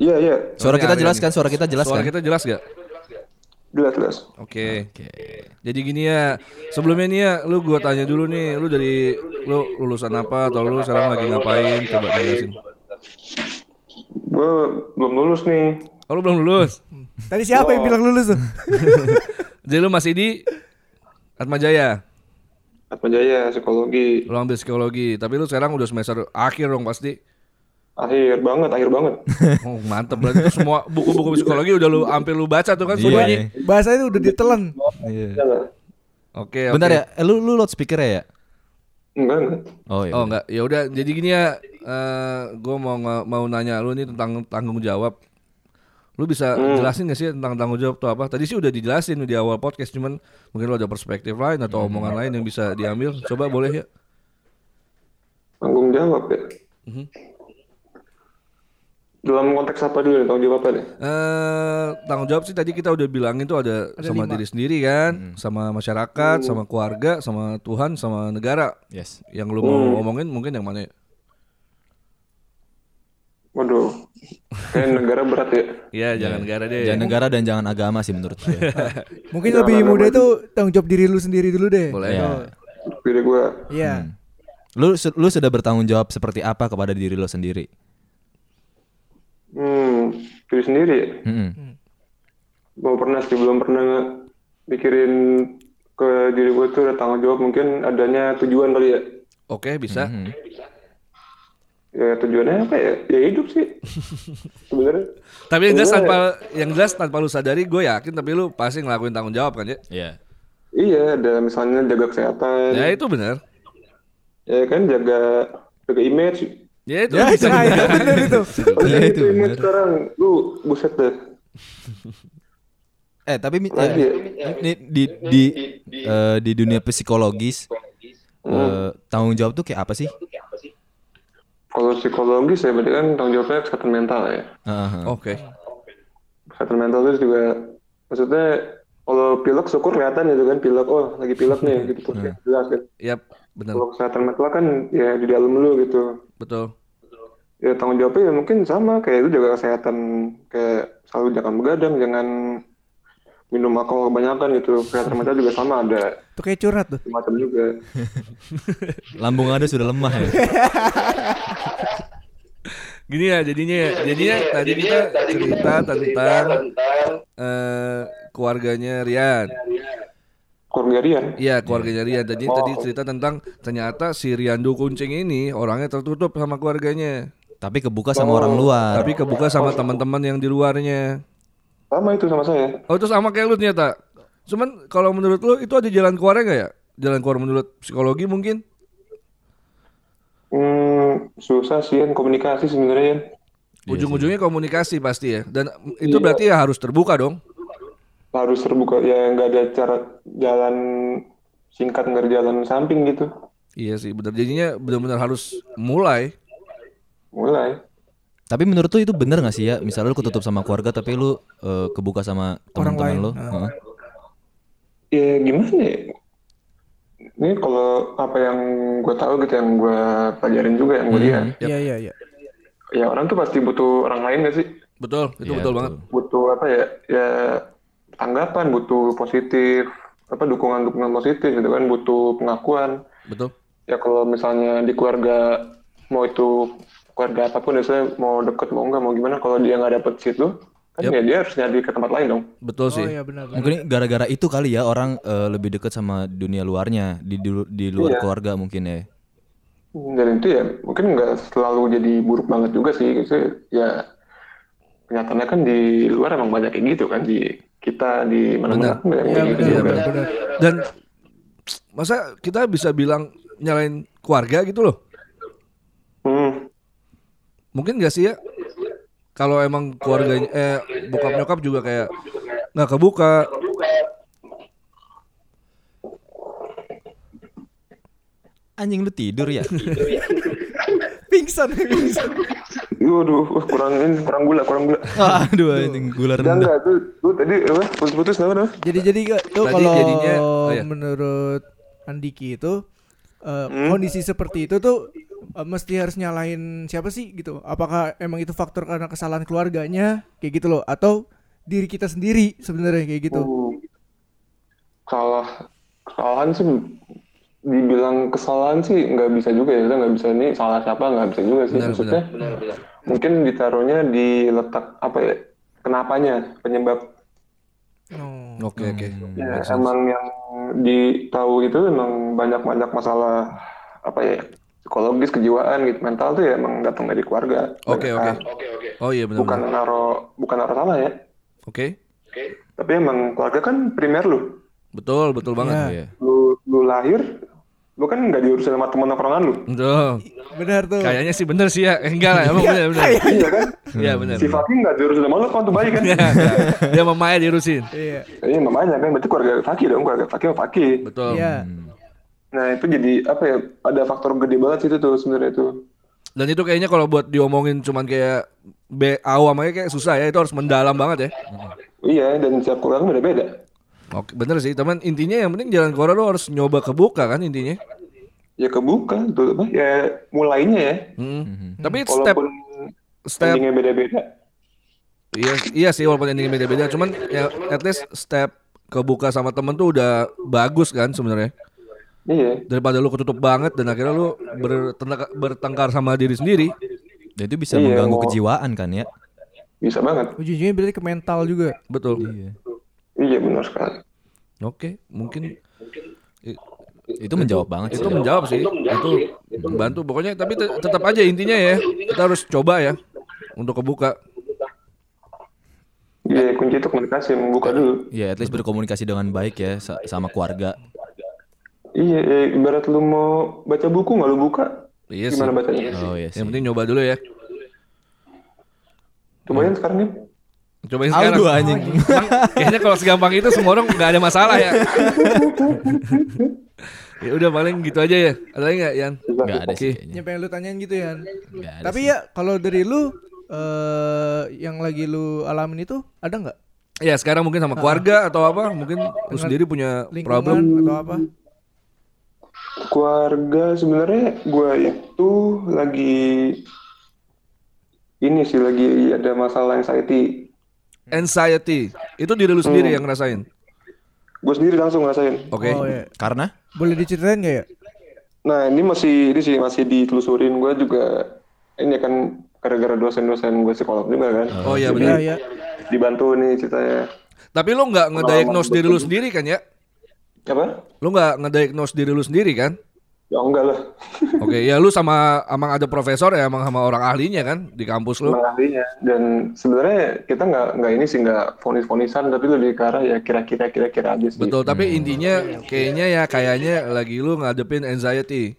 B: Iya, iya.
D: Suara
C: Ini
D: kita
C: Arya
D: jelas
C: nih.
D: kan? Suara kita jelas
C: Suara
D: kan?
C: kita jelas gak?
B: Jelas, jelas.
C: Oke. Jadi gini ya, sebelumnya nih ya, lu gua tanya dulu nih, lu dari lu lulusan apa atau lu sekarang lagi ngapain? Coba jelasin.
B: Gue belum lulus nih.
C: Oh, lu belum lulus.
A: Tadi siapa yang bilang lulus tuh?
C: Jadi lu masih di Atma Jaya.
B: Atma Jaya, psikologi.
C: Lu ambil psikologi, tapi lu sekarang udah semester akhir dong
D: *laughs*
C: pasti.
B: Akhir banget, akhir banget.
C: Oh, mantep berarti itu semua buku-buku psikologi udah lu hampir lu baca tuh kan semuanya.
D: Iya.
A: Bahasanya udah ditelan.
D: Iya.
B: Iya nggak?
C: Oke, oke.
D: Bentar ya eh, Lu, lu loudspeaker ya?
B: Enggak, enggak.
D: Oh iya
C: Oh enggak, ya udah. Jadi gini ya, eh gue mau nge- mau nanya lu nih tentang tanggung jawab. Lu bisa jelasin gak sih tentang tanggung jawab tuh apa? Tadi sih udah dijelasin di awal podcast, cuman mungkin lu ada perspektif lain atau
D: Hmm.
C: omongan lain yang bisa diambil. Coba boleh ya?
B: Tanggung jawab ya. Dalam konteks apa dulu nih? Tanggung jawab apa nih?
C: Eh tanggung jawab sih tadi kita udah bilangin tuh ada, sama diri sendiri kan,
D: Hmm.
C: sama masyarakat, sama keluarga, sama Tuhan, sama negara.
D: Yes
C: Yang lu mau ngomongin mungkin yang mana? ya?
B: Waduh. Kayak negara berat ya.
C: Ya jangan
D: Iya.
C: negara deh.
D: Jangan negara dan jangan agama sih menurut ya. *laughs* gue
A: Mungkin lebih mudah itu tanggung jawab diri lu sendiri dulu deh.
C: Iya, Boleh. Hmm.
D: Iya.
B: Diri gue.
A: Iya.
D: Lu, su- lu sudah bertanggung jawab seperti apa kepada diri lo sendiri?
B: Hmm, diri sendiri ya.
D: Mm-mm.
B: Belum pernah sih, belum pernah mikirin ke diri gue tuh ada tanggung jawab. Mungkin adanya tujuan kali ya.
C: Oke bisa.
D: Hmm.
B: Ya tujuannya apa ya? Ya hidup sih. Sebenarnya.
C: Tapi yang jelas tanpa yang jelas tanpa lu sadari gue yakin tapi lu pasti ngelakuin tanggung jawab kan ya?
D: Iya.
B: Iya, ada misalnya jaga kesehatan.
C: Ya itu benar.
B: Ya kan jaga jaga image.
C: Ya itu.
A: Ya,
C: bisa
A: *laughs*
C: benar.
A: nah, itu bener itu.
D: Iya, itu
B: image
D: bener.
B: sekarang lu buset deh.
D: Eh tapi mi-
B: Lagi
D: eh,
B: ya?
D: ini di di eh, di dunia psikologis eh, tanggung jawab tuh kayak apa sih?
B: Kalau psikologis ya berarti kan tanggung jawabnya kesehatan mental ya.
D: Heeh.
C: Oke.
B: Kesehatan mental itu juga maksudnya kalau pilek syukur kelihatan gitu kan pilek oh lagi pilek nih gitu tuh jelas kan.
C: Yap, benar.
B: Kalau kesehatan mental kan ya di dalam lu gitu.
C: Betul.
B: Ya tanggung jawabnya ya mungkin sama kayak itu jaga kesehatan kayak selalu jangan begadang, jangan minum alkohol kebanyakan gitu. Kesehatan mental juga sama ada
A: Itu kayak curhat tuh.
B: macam juga.
D: Lambung ada sudah lemah *laughs* ya.
C: Gini ya jadinya ya. Jadinya tadi kita cerita tentang eh, keluarganya Rian.
B: Keluarga Rian.
C: Iya, keluarganya Rian. Jadi tadi cerita tentang ternyata si Riandu Kuncing ini orangnya tertutup sama keluarganya.
D: Tapi kebuka sama orang luar.
C: Tapi kebuka sama teman-teman yang di luarnya.
B: Sama itu sama saya.
C: Oh, itu sama kayak lu ternyata. Cuman kalau menurut lu itu ada jalan keluarnya nggak ya? jalan keluar menurut psikologi mungkin?
B: Hmm, susah sih Yan, komunikasi sebenarnya Yan.
C: Iya Ujung-ujungnya komunikasi pasti ya. Dan itu
A: Iya.
C: berarti ya harus terbuka dong.
B: harus terbuka ya nggak ada cara jalan singkat nggak ada jalan samping gitu
C: Iya sih, benar. Jadinya benar-benar harus mulai.
B: mulai
D: Tapi menurut lu itu bener gak sih ya? Misalnya lu ketutup sama keluarga tapi lu eh, kebuka sama teman-teman
A: lain,
D: lu.
C: Nah.
A: ah.
D: Heeh.
B: ya gimana ya ini kalau apa yang gue tahu gitu yang gue pelajarin juga yang gue lihat
A: Iya iya iya.
B: ya orang tuh pasti butuh orang lain gak sih
C: Betul, itu
D: Iya,
C: betul banget.
B: butuh apa ya ya tanggapan butuh positif apa dukungan dukungan positif gitu kan butuh pengakuan
C: Betul.
B: ya kalau misalnya di keluarga mau itu keluarga apapun biasanya mau deket mau enggak mau gimana kalau dia nggak dapet situ kan
C: Yap.
B: ya dia harus nyari ke tempat lain dong
C: Betul
A: Oh
C: sih.
A: iya benar. benar.
D: Mungkin gara-gara itu kali ya orang eh, lebih dekat sama dunia luarnya di di, di
B: Iya.
D: luar keluarga mungkin ya.
B: dan itu ya mungkin nggak selalu jadi buruk banget juga sih gitu ya kenyataannya kan di luar emang banyak kayak gitu kan di kita di mana-mana kan banyak
A: Iya
B: kayak gitu
A: benar
B: juga.
A: benar benar.
C: Dan masa kita bisa bilang nyalain keluarga gitu loh?
B: Hmm.
C: Mungkin gak sih ya? Kalau emang keluarganya eh bokap nyokap juga kayak nggak kebuka.
D: Anjing lu tidur
C: *laughs*
D: ya?
C: Iya.
A: Pingsan pingsan.
B: Waduh, wah, kurang ini kurang gula, kurang gula.
D: Aduh
C: Iya.
D: anjing gula
B: Enggak
D: rendah.
B: enggak tuh, tuh tadi apa putus-putus nama nama.
A: Jadi jadi ke- tuh
C: Berarti
A: kalau
C: jadinya- oh iya.
A: menurut Andiki itu eh, kondisi seperti itu tuh eh, mesti harus nyalain siapa sih gitu? Apakah emang itu faktor karena kesalahan keluarganya kayak gitu loh atau diri kita sendiri sebenarnya kayak gitu?
B: Hmm. Salah kesalahan sih dibilang kesalahan sih nggak bisa juga ya, kita nggak bisa ini salah siapa nggak bisa juga sih maksudnya. Mungkin ditaruhnya di letak apa ya? Kenapanya penyebab
A: Oh.
C: Oke oke.
B: ya, emang yang ditahu itu emang banyak-banyak masalah apa ya psikologis kejiwaan gitu mental tuh ya emang datang dari keluarga.
C: Oke oke.
B: Banyak-
C: Oh iya benar.
B: Ah. Bukan
C: benar.
B: naro bukan naro sama ya.
C: Oke.
B: Tapi emang keluarga kan primer lu.
C: Betul betul banget.
D: Iya.
B: Lu lu lahir, lu kan nggak diurusin sama teman nongkrongan lu.
C: Betul.
A: Iya. Benar tuh.
C: Kayaknya sih bener sih ya. *laughs* Eh, Enggak lah, emang bener bener.
B: Iya kan?
C: Iya bener.
B: Si Fakih nggak diurusin sama lu kan tuh bayi kan?
C: Iya, Dia sama Maya diurusin.
A: Iya.
B: Iya namanya kan berarti keluarga Fakih dong, keluarga Fakih sama Fakih.
C: Betul.
A: Iya.
B: Nah itu jadi apa ya? Ada faktor gede banget sih itu tuh sebenarnya itu.
C: Dan itu kayaknya kalau buat diomongin cuman kayak B awam aja kayak susah ya. Itu harus mendalam banget ya.
B: Iya dan setiap keluarga beda-beda.
C: Oke, bener sih. Teman intinya yang penting jalan keluar lu harus nyoba kebuka kan intinya.
B: Ya kebuka tuh apa? Ya mulainya ya.
C: Mm. Tapi it's step
B: Walaupun
C: step
B: endingnya beda-beda.
C: iya, iya sih walaupun endingnya beda-beda cuman ya at least step kebuka sama temen tuh udah bagus kan sebenarnya
B: Iya.
C: daripada lu ketutup banget dan akhirnya lu bertengkar, bertengkar sama diri sendiri
D: Dan itu bisa
B: Iya,
D: mengganggu
B: mau-
D: kejiwaan kan ya?
B: Bisa banget.
A: Ujungnya berarti ke mental juga.
C: betul
B: Iya benar sekali.
C: oke mungkin
D: Itu menjawab banget sih.
C: itu menjawab sih itu membantu pokoknya tapi te- tetap aja intinya ya kita harus coba ya untuk kebuka
B: Iya kunci itu komunikasi membuka dulu.
D: Ya, at least berkomunikasi dengan baik ya sa- sama keluarga.
B: Iya, ya, ibarat lu mau baca buku nggak lu buka,
C: iya sih
B: gimana bacanya?
D: Oh iya sih.
C: yang penting nyoba dulu ya Iya.
B: Cobain sekarang nih.
C: cobain sekarang
D: Aduh anjing.
C: Emang kayaknya kalau segampang itu semua orang nggak ada masalah ya. *laughs* ya udah paling gitu aja ya. Ada lagi nggak Yan?
D: Enggak ada sih
C: Oke.
D: kayaknya.
A: Yang pengen lu tanyain gitu ya.
D: Nggak ada
A: Tapi
D: sih.
A: ya kalau dari lu eh yang lagi lu alamin itu ada nggak
C: Ya sekarang mungkin sama keluarga atau apa? Mungkin lu sendiri punya problem.
A: lingkungan atau apa?
B: Keluarga sebenarnya gue itu lagi ini sih lagi ada masalah anxiety.
C: Hmm. Anxiety. Itu diri lu sendiri yang ngerasain.
B: Gue sendiri langsung ngerasain.
C: Oke.
A: Oh iya.
D: Karena
A: Boleh diceritain gak ya?
C: Iya,
B: Nah ini masih ini sih masih ditelusurin. Gue juga ini kan gara-gara dosen-dosen gue psikolog juga kan.
C: Oh iya
A: Iya
C: benar.
A: ya.
B: Dibantu nih ceritanya.
C: Tapi lu nggak ngediagnose diri lu sendiri kan ya?
B: Apa?
C: Lu nggak ngediagnose diri lu sendiri kan?
B: Ya enggak
C: *laughs*
B: lah.
C: Oke, ya lu sama emang ada profesor ya, emang sama orang ahlinya kan di kampus lu.
B: Emang ahlinya. Dan sebenarnya kita nggak nggak ini sih nggak fonis-fonisan tapi lebih ke arah ya kira-kira kira-kira aja sih.
C: Betul, tapi intinya kayaknya ya kayaknya lagi lu ngadepin anxiety.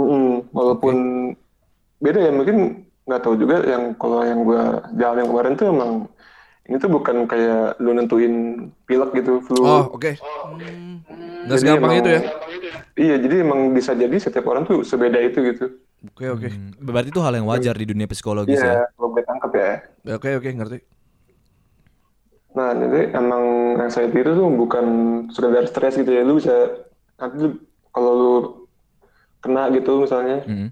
B: Mm-mm. walaupun beda ya mungkin nggak tahu juga yang kalau yang gua jalan yang kemarin tuh emang ini tuh bukan kayak lu nentuin pilek gitu flu.
C: Oh, oke. Nggak
B: Jadi
C: segampang
B: emang-
C: itu ya.
B: Iya, jadi emang bisa jadi setiap orang tuh sebeda itu gitu.
C: Oke, oke.
D: Hmm, Berarti itu hal yang wajar di dunia psikologis ya.
B: Iya, kalau gue tangkap ya.
C: Oke, oke, ngerti.
B: Nah, jadi emang anxiety itu tuh bukan sekedar stres gitu ya. Lu bisa nanti lu- kalau lu kena gitu misalnya,
D: Hmm.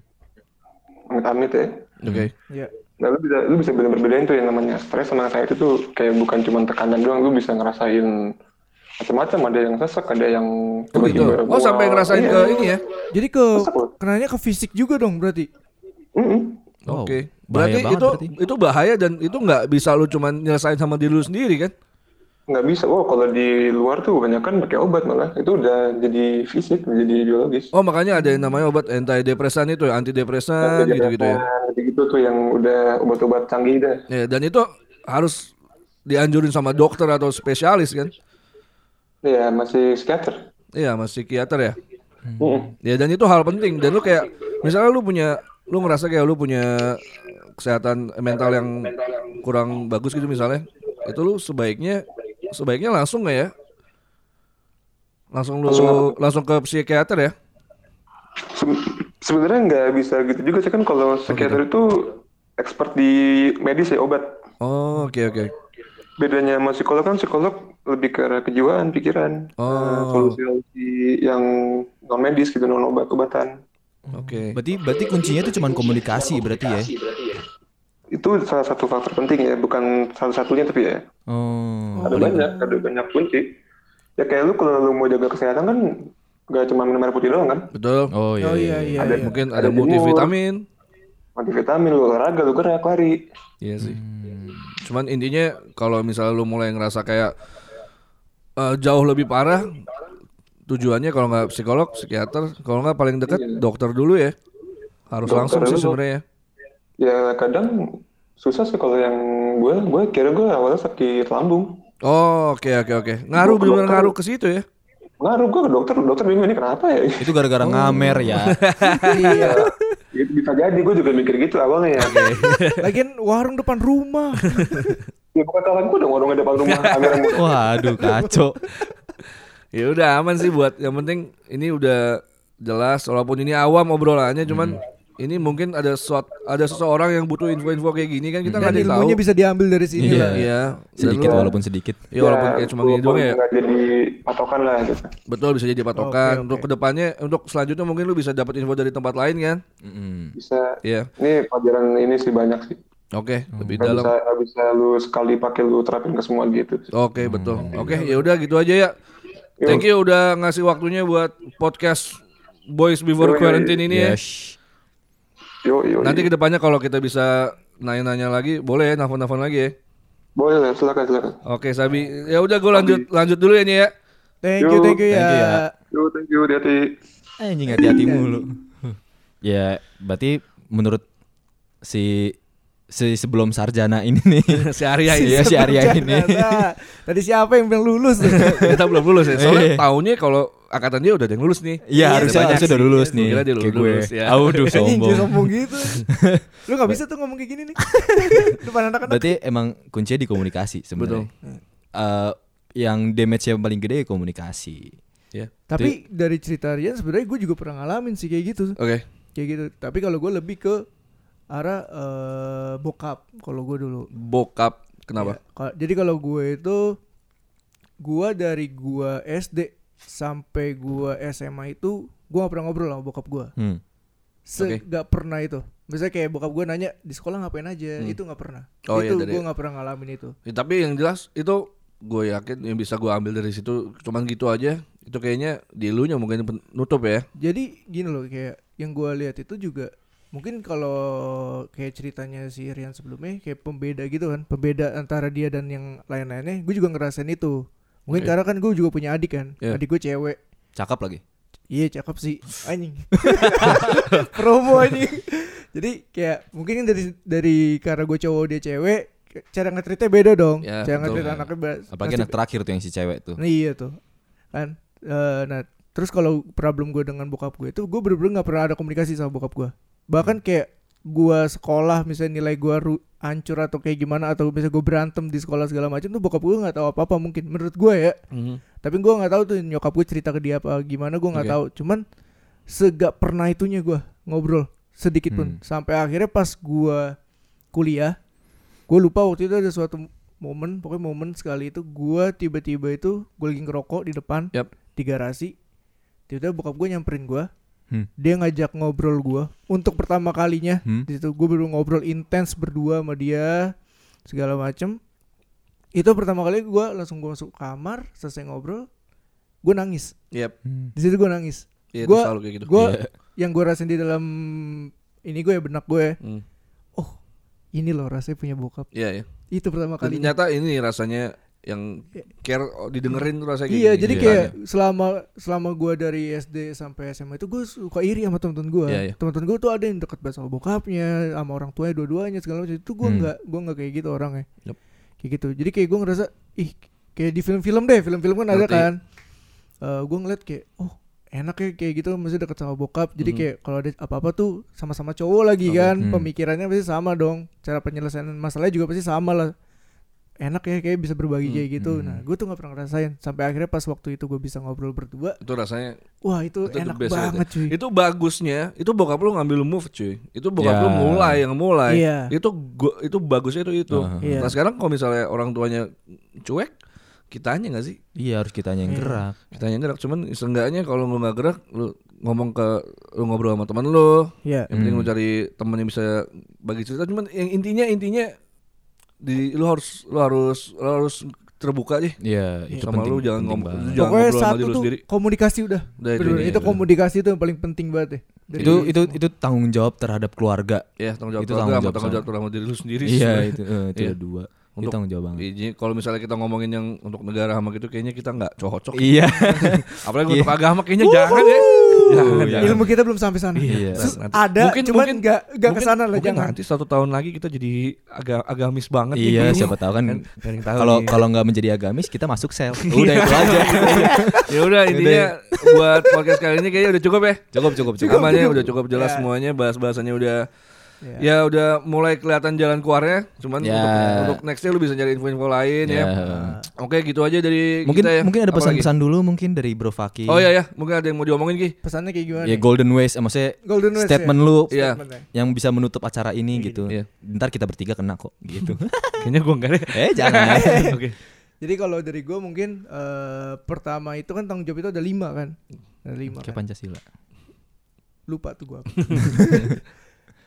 B: amit-amit ya.
C: Oke.
A: Ya.
B: Nah, lu bisa lu bisa benar bedain tuh yang namanya stres sama anxiety itu kayak bukan cuma tekanan doang, lu bisa ngerasain macam-macam. Ada yang sesek, ada yang
C: Oh, gitu.
B: tiba-tiba
C: Oh, sampai
B: mual.
C: ngerasain
B: Iya.
C: ke ini ya.
A: Jadi ke
B: Masa gua-
A: kenanya ke fisik juga dong
D: *laughs*
A: berarti.
B: Mm-mm.
D: Wow,
C: Oke.
D: Oh, bahaya
C: Berarti
D: banget
C: itu
D: berarti.
C: itu bahaya dan itu nggak bisa lu cuman nyelesain sama diri lu sendiri kan?
B: nggak bisa. Oh, kalau di luar tuh kebanyakan pakai obat malah. Itu udah jadi fisik, jadi biologis.
C: Oh, makanya ada yang namanya obat antidepresan itu ya, antidepresan gitu-gitu ya.
B: gitu tuh yang udah obat-obat canggih dah.
C: Ya, dan itu harus dianjurin sama dokter atau spesialis kan?
B: Iya, masih psikiater.
C: Iya, mas psikiater ya.
B: Mm-mm.
C: Ya dan itu hal penting dan lu kayak misalnya lu punya lu ngerasa kayak lu punya kesehatan mental yang kurang bagus gitu misalnya itu lu sebaiknya sebaiknya langsung nggak ya langsung lu langsung ke psikiater ya
B: Se- Sebenarnya nggak bisa gitu juga sih kan kalau psikiater
C: gitu.
B: itu expert di medis ya obat.
C: oh oke oke
B: Bedanya sama psikolog kan psikolog lebih ke arah kejiwaan, pikiran,
C: Oh.
B: Nah, solusi yang non medis gitu non obat-obatan.
C: oke
D: Berarti berarti kuncinya itu cuman komunikasi berarti ya.
B: Itu salah satu faktor penting ya, bukan satu-satunya tapi ya.
D: Oh.
B: Ada banyak, ada banyak kunci. Ya kayak lu kalau lu mau jaga kesehatan kan nggak cuma minum air putih doang kan.
C: betul
D: Oh iya.
A: Oh
D: iya.
A: iya iya.
B: Ada-
A: iya.
C: mungkin ada
B: jemur.
C: multivitamin
B: Multivitamin, lu olahraga, lu gerak, lari.
C: Iya sih. Cuman intinya kalau misalnya lu mulai ngerasa kayak eh, jauh lebih parah, tujuannya kalau nggak psikolog, psikiater, kalau nggak paling dekat dokter dulu ya. Harus
B: Iya. Dokter
C: langsung sih
B: dulu.
C: sebenarnya.
B: Ya kadang susah sih kalau yang gue, gue kira gue awalnya sakit lambung.
C: Oh, oke oke oke. Ngaruh
B: Dokter-
C: benar
B: dokter.
C: ngaruh ke situ ya.
B: Ngaruh gue ke dokter, dokter bingung ini kenapa ya? *laughs*
C: iya.
D: Itu gara-gara
C: Oh.
D: ngamer
C: *laughs*
D: ya.
A: Iya.
B: Gitu, Bisa jadi gue juga mikir gitu awalnya ya.
A: Lagian warung depan
D: *laughs*
A: rumah.
B: ya bukan salah gue dong orang di depan
C: *laughs*
B: rumah kamera mulu.
D: Waduh kacau.
C: Ya udah aman sih buat yang penting ini udah jelas walaupun ini awam obrolannya cuman
A: Hmm.
C: ini mungkin ada sesuat, ada seseorang yang butuh info-info kayak gini kan kita nggak
A: Dan
C: ada yang tahu.
A: ilmunya bisa diambil dari sini
D: Iya.
A: lah.
C: Iya. Dan
D: Sedikit
C: lu-
D: walaupun sedikit.
C: Iya walaupun kayak cuma gini doang ya.
B: nggak jadi patokan lah gitu.
C: Betul bisa jadi patokan untuk kedepannya untuk selanjutnya mungkin lu bisa dapat info dari tempat lain kan?
D: Mm-mm.
B: Bisa.
C: Iya.
B: Ini pelajaran ini sih banyak sih.
C: Oke
D: Hmm.
C: lebih
B: Gak
C: dalam.
B: bisa, nggak bisa lu sekali pakai lu terapin ke semua gitu.
C: Oke betul.
D: Hmm.
C: Oke ya udah gitu aja ya. Thank you udah ngasih waktunya buat podcast Boys Before
B: Yoi.
C: Quarantine ini ya.
D: Yes.
B: Yo
A: Oh,
B: yo.
C: Nanti
A: iya.
C: kedepannya kalau kita bisa nanya-nanya lagi boleh ya nelfon-nelfon lagi ya.
B: Boleh lah, silakan silakan.
C: Oke Sabi ya udah gue lanjut lanjut dulu ya nih
A: *laughs*
C: ya.
A: Thank you, thank you ya.
D: Thank you ya.
B: Yo, thank you, hati-hati.
D: Anjing hati-hati mulu. ya, berarti menurut si si sebelum sarjana ini nih.
C: *laughs* Si Arya ini.
D: Iya, si Arya ini.
A: Bercanda. Tadi siapa yang belum
D: *laughs*
A: lulus? tuh?
C: kita belum lulus ya. Soalnya
D: Iya.
C: tahunnya kalau angkatan dia udah ada yang lulus nih. Ada
D: Iya, harusnya
C: banyak
D: harusnya
C: sih.
D: udah lulus nih.
C: Gila dia
D: kayak
C: udah
D: gue.
C: lulus ya.
D: Aduh,
A: Anjing
D: sombong.
A: dia sombong
D: *laughs*
A: gitu. Lu gak bisa tuh ngomong kayak gini nih. Depan anak-anak.
D: Berarti emang kuncinya di komunikasi sebenarnya.
C: Hmm.
D: Eh, yang damage yang paling gede ya komunikasi.
C: *laughs* Iya.
A: Tapi dari cerita Rian sebenarnya gue juga pernah ngalamin sih kayak gitu.
C: Oke.
A: Kayak gitu. Tapi kalau gue lebih ke arah eh, bokap kalau gue dulu.
C: Bokap kenapa?
A: Ya, kalau- jadi kalau gue itu gue dari gue SD sampai gue SMA itu gue gak pernah ngobrol sama bokap gue.
D: Hmm.
A: Se
C: Oke.
A: gak pernah itu. Misalnya kayak bokap gue nanya di sekolah ngapain aja, itu gak pernah.
C: Oh iya,
A: itu
C: dari-
A: gue gak pernah ngalamin itu.
C: Ya, tapi yang jelas itu gue yakin yang bisa gue ambil dari situ cuman gitu aja. Itu kayaknya di elunya mungkin pen- nutup ya.
A: Jadi gini loh kayak yang gua lihat itu juga mungkin kalau kayak ceritanya si Rian sebelumnya kayak pembeda gitu kan pembeda antara dia dan yang lain-lainnya gue juga ngerasain itu mungkin karena kan gue juga punya adik kan
C: Iya.
A: adik gue cewek
D: Cakep lagi.
A: Iya cakep sih anjing. *laughs* Promo anjing. Jadi kayak mungkin dari dari karena gue cowok dia cewek, cara ngetritnya beda dong.
C: Ya,
A: cara
C: betul.
A: ngetrit anaknya ba-
D: Iya, Apalagi
A: pasti-
D: anak terakhir tuh yang si cewek tuh.
A: Nah, iya tuh. Kan eh, nah terus kalau problem gue dengan bokap gue itu gue bener-bener nggak pernah ada komunikasi sama bokap gue.
D: Hmm.
A: Bahkan kayak gue sekolah misalnya nilai gue ru- hancur atau kayak gimana atau misalnya gue berantem di sekolah segala macam tuh bokap gue nggak tahu apa-apa mungkin menurut gue ya. Tapi gue nggak tahu tuh nyokap gue cerita ke dia apa gimana gue nggak
C: Oke.
A: tahu. Cuman segak pernah itunya gue ngobrol sedikit pun sampai akhirnya pas gue kuliah gue lupa waktu itu ada suatu momen pokoknya momen sekali itu gue tiba-tiba itu gue lagi ngerokok di depan
C: Yap.
A: di garasi tiba-tiba bokap gue nyamperin gue
D: Hmm.
A: dia ngajak ngobrol gue untuk pertama kalinya
D: Hmm.
A: di situ gue baru ngobrol intens berdua sama dia segala macem itu pertama kali gue langsung gue masuk kamar selesai ngobrol gue nangis
C: Yep.
D: Hmm.
A: di situ gue nangis
C: Iya, itu
A: Gua-
C: selalu kayak gitu.
A: gue yang gue rasain di dalam ini gue ya benak gue
C: Hmm.
A: oh ini loh rasanya punya bokap
C: Iya, iya.
A: itu pertama
C: Jadi
A: kali
C: nyata ini rasanya yang care oh, didengerin tuh rasanya kayak
A: iya
C: gini.
A: jadi
C: Iya.
A: kayak selama selama gue dari SD sampai SMA itu gue suka iri sama teman-teman gue
C: Iya, iya.
A: teman-teman gue tuh ada yang deket banget sama bokapnya sama orang tuanya dua-duanya segala macam itu gue
D: Hmm.
A: nggak gue nggak kayak gitu orangnya
C: Yup.
A: kayak gitu jadi kayak gue ngerasa ih kayak di film-film deh film-film kan ada
C: Ngerti.
A: kan Eh gue ngeliat kayak oh enak ya kayak gitu masih deket sama bokap jadi
C: Mhm.
A: kayak kalau ada apa-apa tuh sama-sama cowok lagi
C: Oke.
A: kan
D: Hmm.
A: pemikirannya pasti sama dong cara penyelesaian masalahnya juga pasti sama lah enak ya kayak bisa berbagi
C: Hmm,
A: kayak gitu
D: hmm.
A: nah gue tuh nggak pernah ngerasain sampai akhirnya pas waktu itu gue bisa ngobrol berdua
C: itu rasanya
A: wah itu,
C: Itu the
A: enak
C: best ya,
A: banget cuy
C: itu bagusnya itu bokap lu ngambil move cuy itu bokap
D: Ya.
C: lu mulai yang mulai
A: Iya.
C: itu go- itu bagusnya itu itu
D: Aha.
A: Iya.
C: nah sekarang kalau misalnya orang tuanya cuek kitanya nggak sih
D: Iya harus kitanya yang
C: Hmm.
A: Iya.
D: gerak.
C: kitanya gerak cuman seenggaknya kalau lu nggak gerak lu ngomong ke lu ngobrol sama teman lu
A: Iya.
C: yang penting
D: Hmm.
C: lu cari temen yang bisa bagi cerita cuman yang intinya intinya di lu harus lu harus lu harus terbuka sih
D: Iya, itu
C: sama
D: penting.
C: lu jangan
D: penting
C: ngomong lu jangan
D: banget.
A: pokoknya
C: ngobrol sama diri
A: satu
C: lu
A: tuh
C: sendiri
A: komunikasi
C: Udah,
A: udah
C: itu
A: Bener-bener,
C: dia.
A: itu komunikasi itu yang paling penting banget deh Dari-
D: Itu itu itu tanggung jawab terhadap keluarga.
C: ya tanggung jawab
D: Itu
C: keluarga
D: tanggung
C: sama
D: jawab
C: tanggung
D: sama.
C: jawab sama diri lu sendiri
D: Iya, itu eh, itu
C: Iya.
D: ada dua.
C: Untuk-
D: Itu tanggung jawab banget.
C: Iya, kalau misalnya kita ngomongin yang untuk negara sama gitu kayaknya kita nggak cocok. *laughs*
D: Iya.
C: Apalagi untuk agama kayaknya jangan ya. Jangan, jangan.
A: ilmu kita belum sampai sana
D: Iya.
A: Sus-
C: Nanti-
A: ada
C: mungkin-
A: cuman
C: mungkin-
A: nggak nggak
C: mungkin-
A: kesana lah
C: mungkin
A: jangan
C: nanti satu tahun lagi kita jadi agak agamis banget.
D: Iya, siapa tahu kan kalau kalau nggak menjadi agamis kita masuk
C: *laughs*
D: sel. Udah itu
C: Iya.
D: aja. *laughs*
C: ya udah intinya buat podcast kali ini kayaknya udah cukup ya.
D: Cukup cukup cukup. Iya.
C: Namanya udah cukup jelas
A: Ya.
C: semuanya, bahas-bahasannya udah
A: Ya.
C: ya udah mulai kelihatan jalan keluarnya. Cuman
D: Ya.
C: untuk, untuk nextnya lu bisa cari info-info lain
D: Ya.
C: ya. Oke, gitu aja dari
D: Mungkin
C: kita ya.
D: mungkin ada
C: Apa lagi?
D: pesan-pesan dulu mungkin dari Bro Fakih.
C: Oh iya ya, mungkin ada yang mau diomongin Ki.
A: pesannya kayak gimana
D: Ya
A: nih?
D: golden ways eh, maksudnya
A: Golden ya? ways,
D: statement lu
C: Iya.
A: Statementnya.
D: yang bisa menutup acara ini gitu.
C: Iya.
D: Ntar kita bertiga kena kok gitu.
C: *laughs*
D: *laughs*
C: Kayaknya gua enggak deh.
D: eh
A: *laughs*
D: jangan.
C: *laughs* Oke.
A: Jadi kalau dari gue mungkin eh, pertama itu kan tanggung jawab itu ada lima kan, ada lima.
D: Kayak
A: Kan?
D: Pancasila.
A: Lupa tuh
D: *laughs*
A: gue.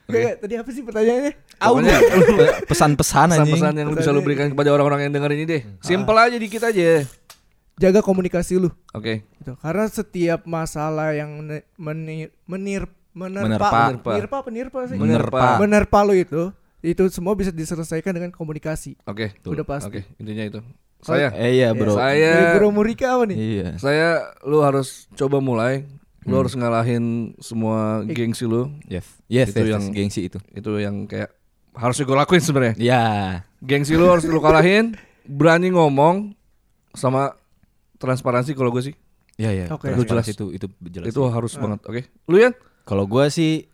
A: Kayak tadi apa sih pertanyaannya?
C: Pokoknya
D: Pe- Pesan-pesan anjing. Ah.
C: pesan-pesan yang lu bisa lu berikan kepada orang-orang yang dengerin ini deh. Simpel aja dikit aja.
A: Jaga komunikasi lu.
C: Oke.
A: Gitu. Karena setiap masalah yang meni- menir, menir
D: Menerpa.
A: menerpa, menerpa, apa penerpa sih?
C: Iya,
D: Menerpa.
A: Menerpa lu itu, itu semua bisa diselesaikan dengan komunikasi.
C: Oke.
A: Udah pasti.
C: Oke, intinya itu. Saya
D: Eh iya, Bro.
C: saya
A: Dari Guru Murika apa nih?
D: Iya.
C: saya lu harus coba mulai. Lu
D: Hmm.
C: harus ngalahin semua gengsi lu.
D: Yes. Yes,
C: Itu
D: yes,
C: yang-
D: yes, gengsi itu.
C: Itu yang kayak harus gue lakuin
D: *laughs*
C: sebenarnya.
D: Ya.
C: Gengsi lu harus lu kalahin, berani ngomong sama transparansi kalau gue sih.
D: Ya ya.
A: Oke.
D: Itu jelas
C: Jelas.
D: itu itu jelas.
C: Itu harus
D: Ah.
C: banget, oke. Lu ya?
D: Kalau gua sih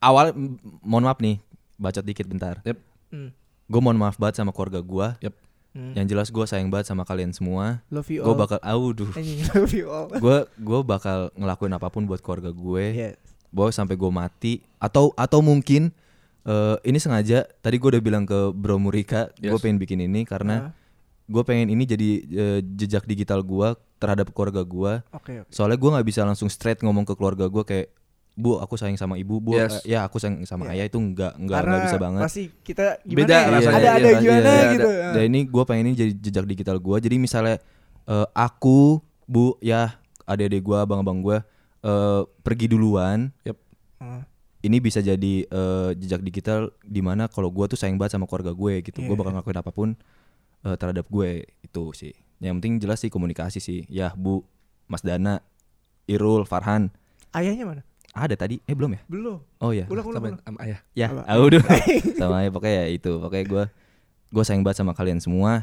D: awal m- mohon maaf nih, bacot dikit bentar.
C: Yep.
A: Hmm.
D: Gue mohon maaf banget sama keluarga gua.
C: Yep.
A: Hmm.
D: Yang jelas gua sayang banget sama kalian semua.
A: Love you
D: Gue
A: all.
D: bakal aduh.
A: Anjing, *laughs* love you all.
D: Gue gua bakal ngelakuin apapun buat keluarga gue.
A: Yes.
D: Bahwa sampai gue mati atau atau mungkin eh, ini sengaja tadi gue udah bilang ke Bro Murika, gue pengen bikin ini karena gue pengen ini jadi eh, jejak digital gua terhadap keluarga gua.
A: Oke. oke.
D: Soalnya gue nggak bisa langsung straight ngomong ke keluarga gue kayak bu aku sayang sama ibu bu
C: Yes.
D: eh, ya aku sayang sama ayah itu nggak nggak
A: Karena
D: nggak bisa banget.
A: pasti kita gimana
C: Beda
A: *laughs* ya?
C: rasanya,
A: ada
C: iya,
A: ada
C: rasanya, iya,
A: gimana
C: ada.
A: gitu.
D: Dan ini gue pengen ini jadi jejak digital gue. Jadi misalnya eh, aku bu ya adik-adik gue abang-abang gue eh, pergi duluan.
C: Yep.
A: Ah.
D: Ini bisa jadi eh, jejak digital dimana kalau gue tuh sayang banget sama keluarga gue
A: Iya,
D: gitu. Gue bakal ngelakuin apapun eh, terhadap gue itu sih. Yang penting jelas sih komunikasi sih. Ya bu Mas Dana Irul, Farhan.
A: Ayahnya mana?
D: Ada tadi? Eh belum ya?
A: Belum.
D: Oh ya.
A: Ulang ulang.
C: Sama,
A: ulang.
C: sama ayah.
D: Ya,
A: Apa?
D: ah, udah. sama ya pokoknya ya itu. Pokoknya gue gue sayang banget sama kalian semua.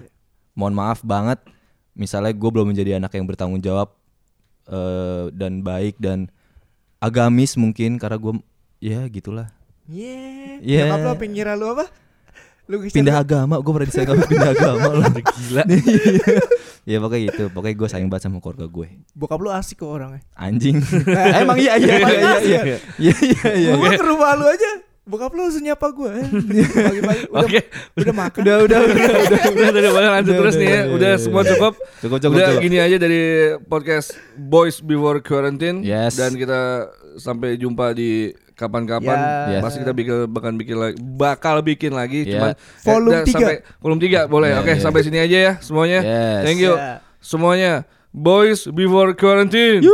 D: Mohon maaf banget. Misalnya gue belum menjadi anak yang bertanggung jawab eh, dan baik dan agamis mungkin karena gue ya gitulah.
A: Yeah.
D: Yeah.
A: Nyokap lo apa yang ngira lu apa? Lu Christian
D: Pindah agama, gue pernah disayang sama pindah agama loh. Gila. *laughs* ya pokoknya gitu. Pokoknya gue sayang banget sama keluarga gue.
A: Bokap lu asik kok orangnya.
D: *laughs* Anjing. Emang iya iya iya iya iya. Iya iya iya.
A: Gua ke rumah lu aja. Bokap lu langsung nyapa *laughs* gue. Pagi-pagi udah,
C: Oke.
A: udah makan.
D: Udah udah udah.
C: *laughs* udah, udah, udah, udah, lanjut
D: Udah,
C: terus
D: udah,
C: nih ya.
D: udah,
C: Udah
D: udah,
C: semua
D: udah.
C: cukup.
D: Cukup cukup.
C: udah
D: cukup.
C: gini aja dari podcast Boys Before Quarantine.
D: Yes.
C: Dan kita sampai jumpa di kapan-kapan.
A: Ya.
D: Yes.
C: Pasti kita bikin bahkan bikin lagi, bakal bikin lagi.
D: Ya.
C: Cuman eh,
A: Volume
C: dah,
A: tiga.
C: sampai- Volume 3 boleh.
D: Ya,
C: Oke,
D: ya.
C: sampai sini aja ya semuanya.
D: Yes.
C: Thank you
A: Ya.
C: semuanya. Boys Before Quarantine.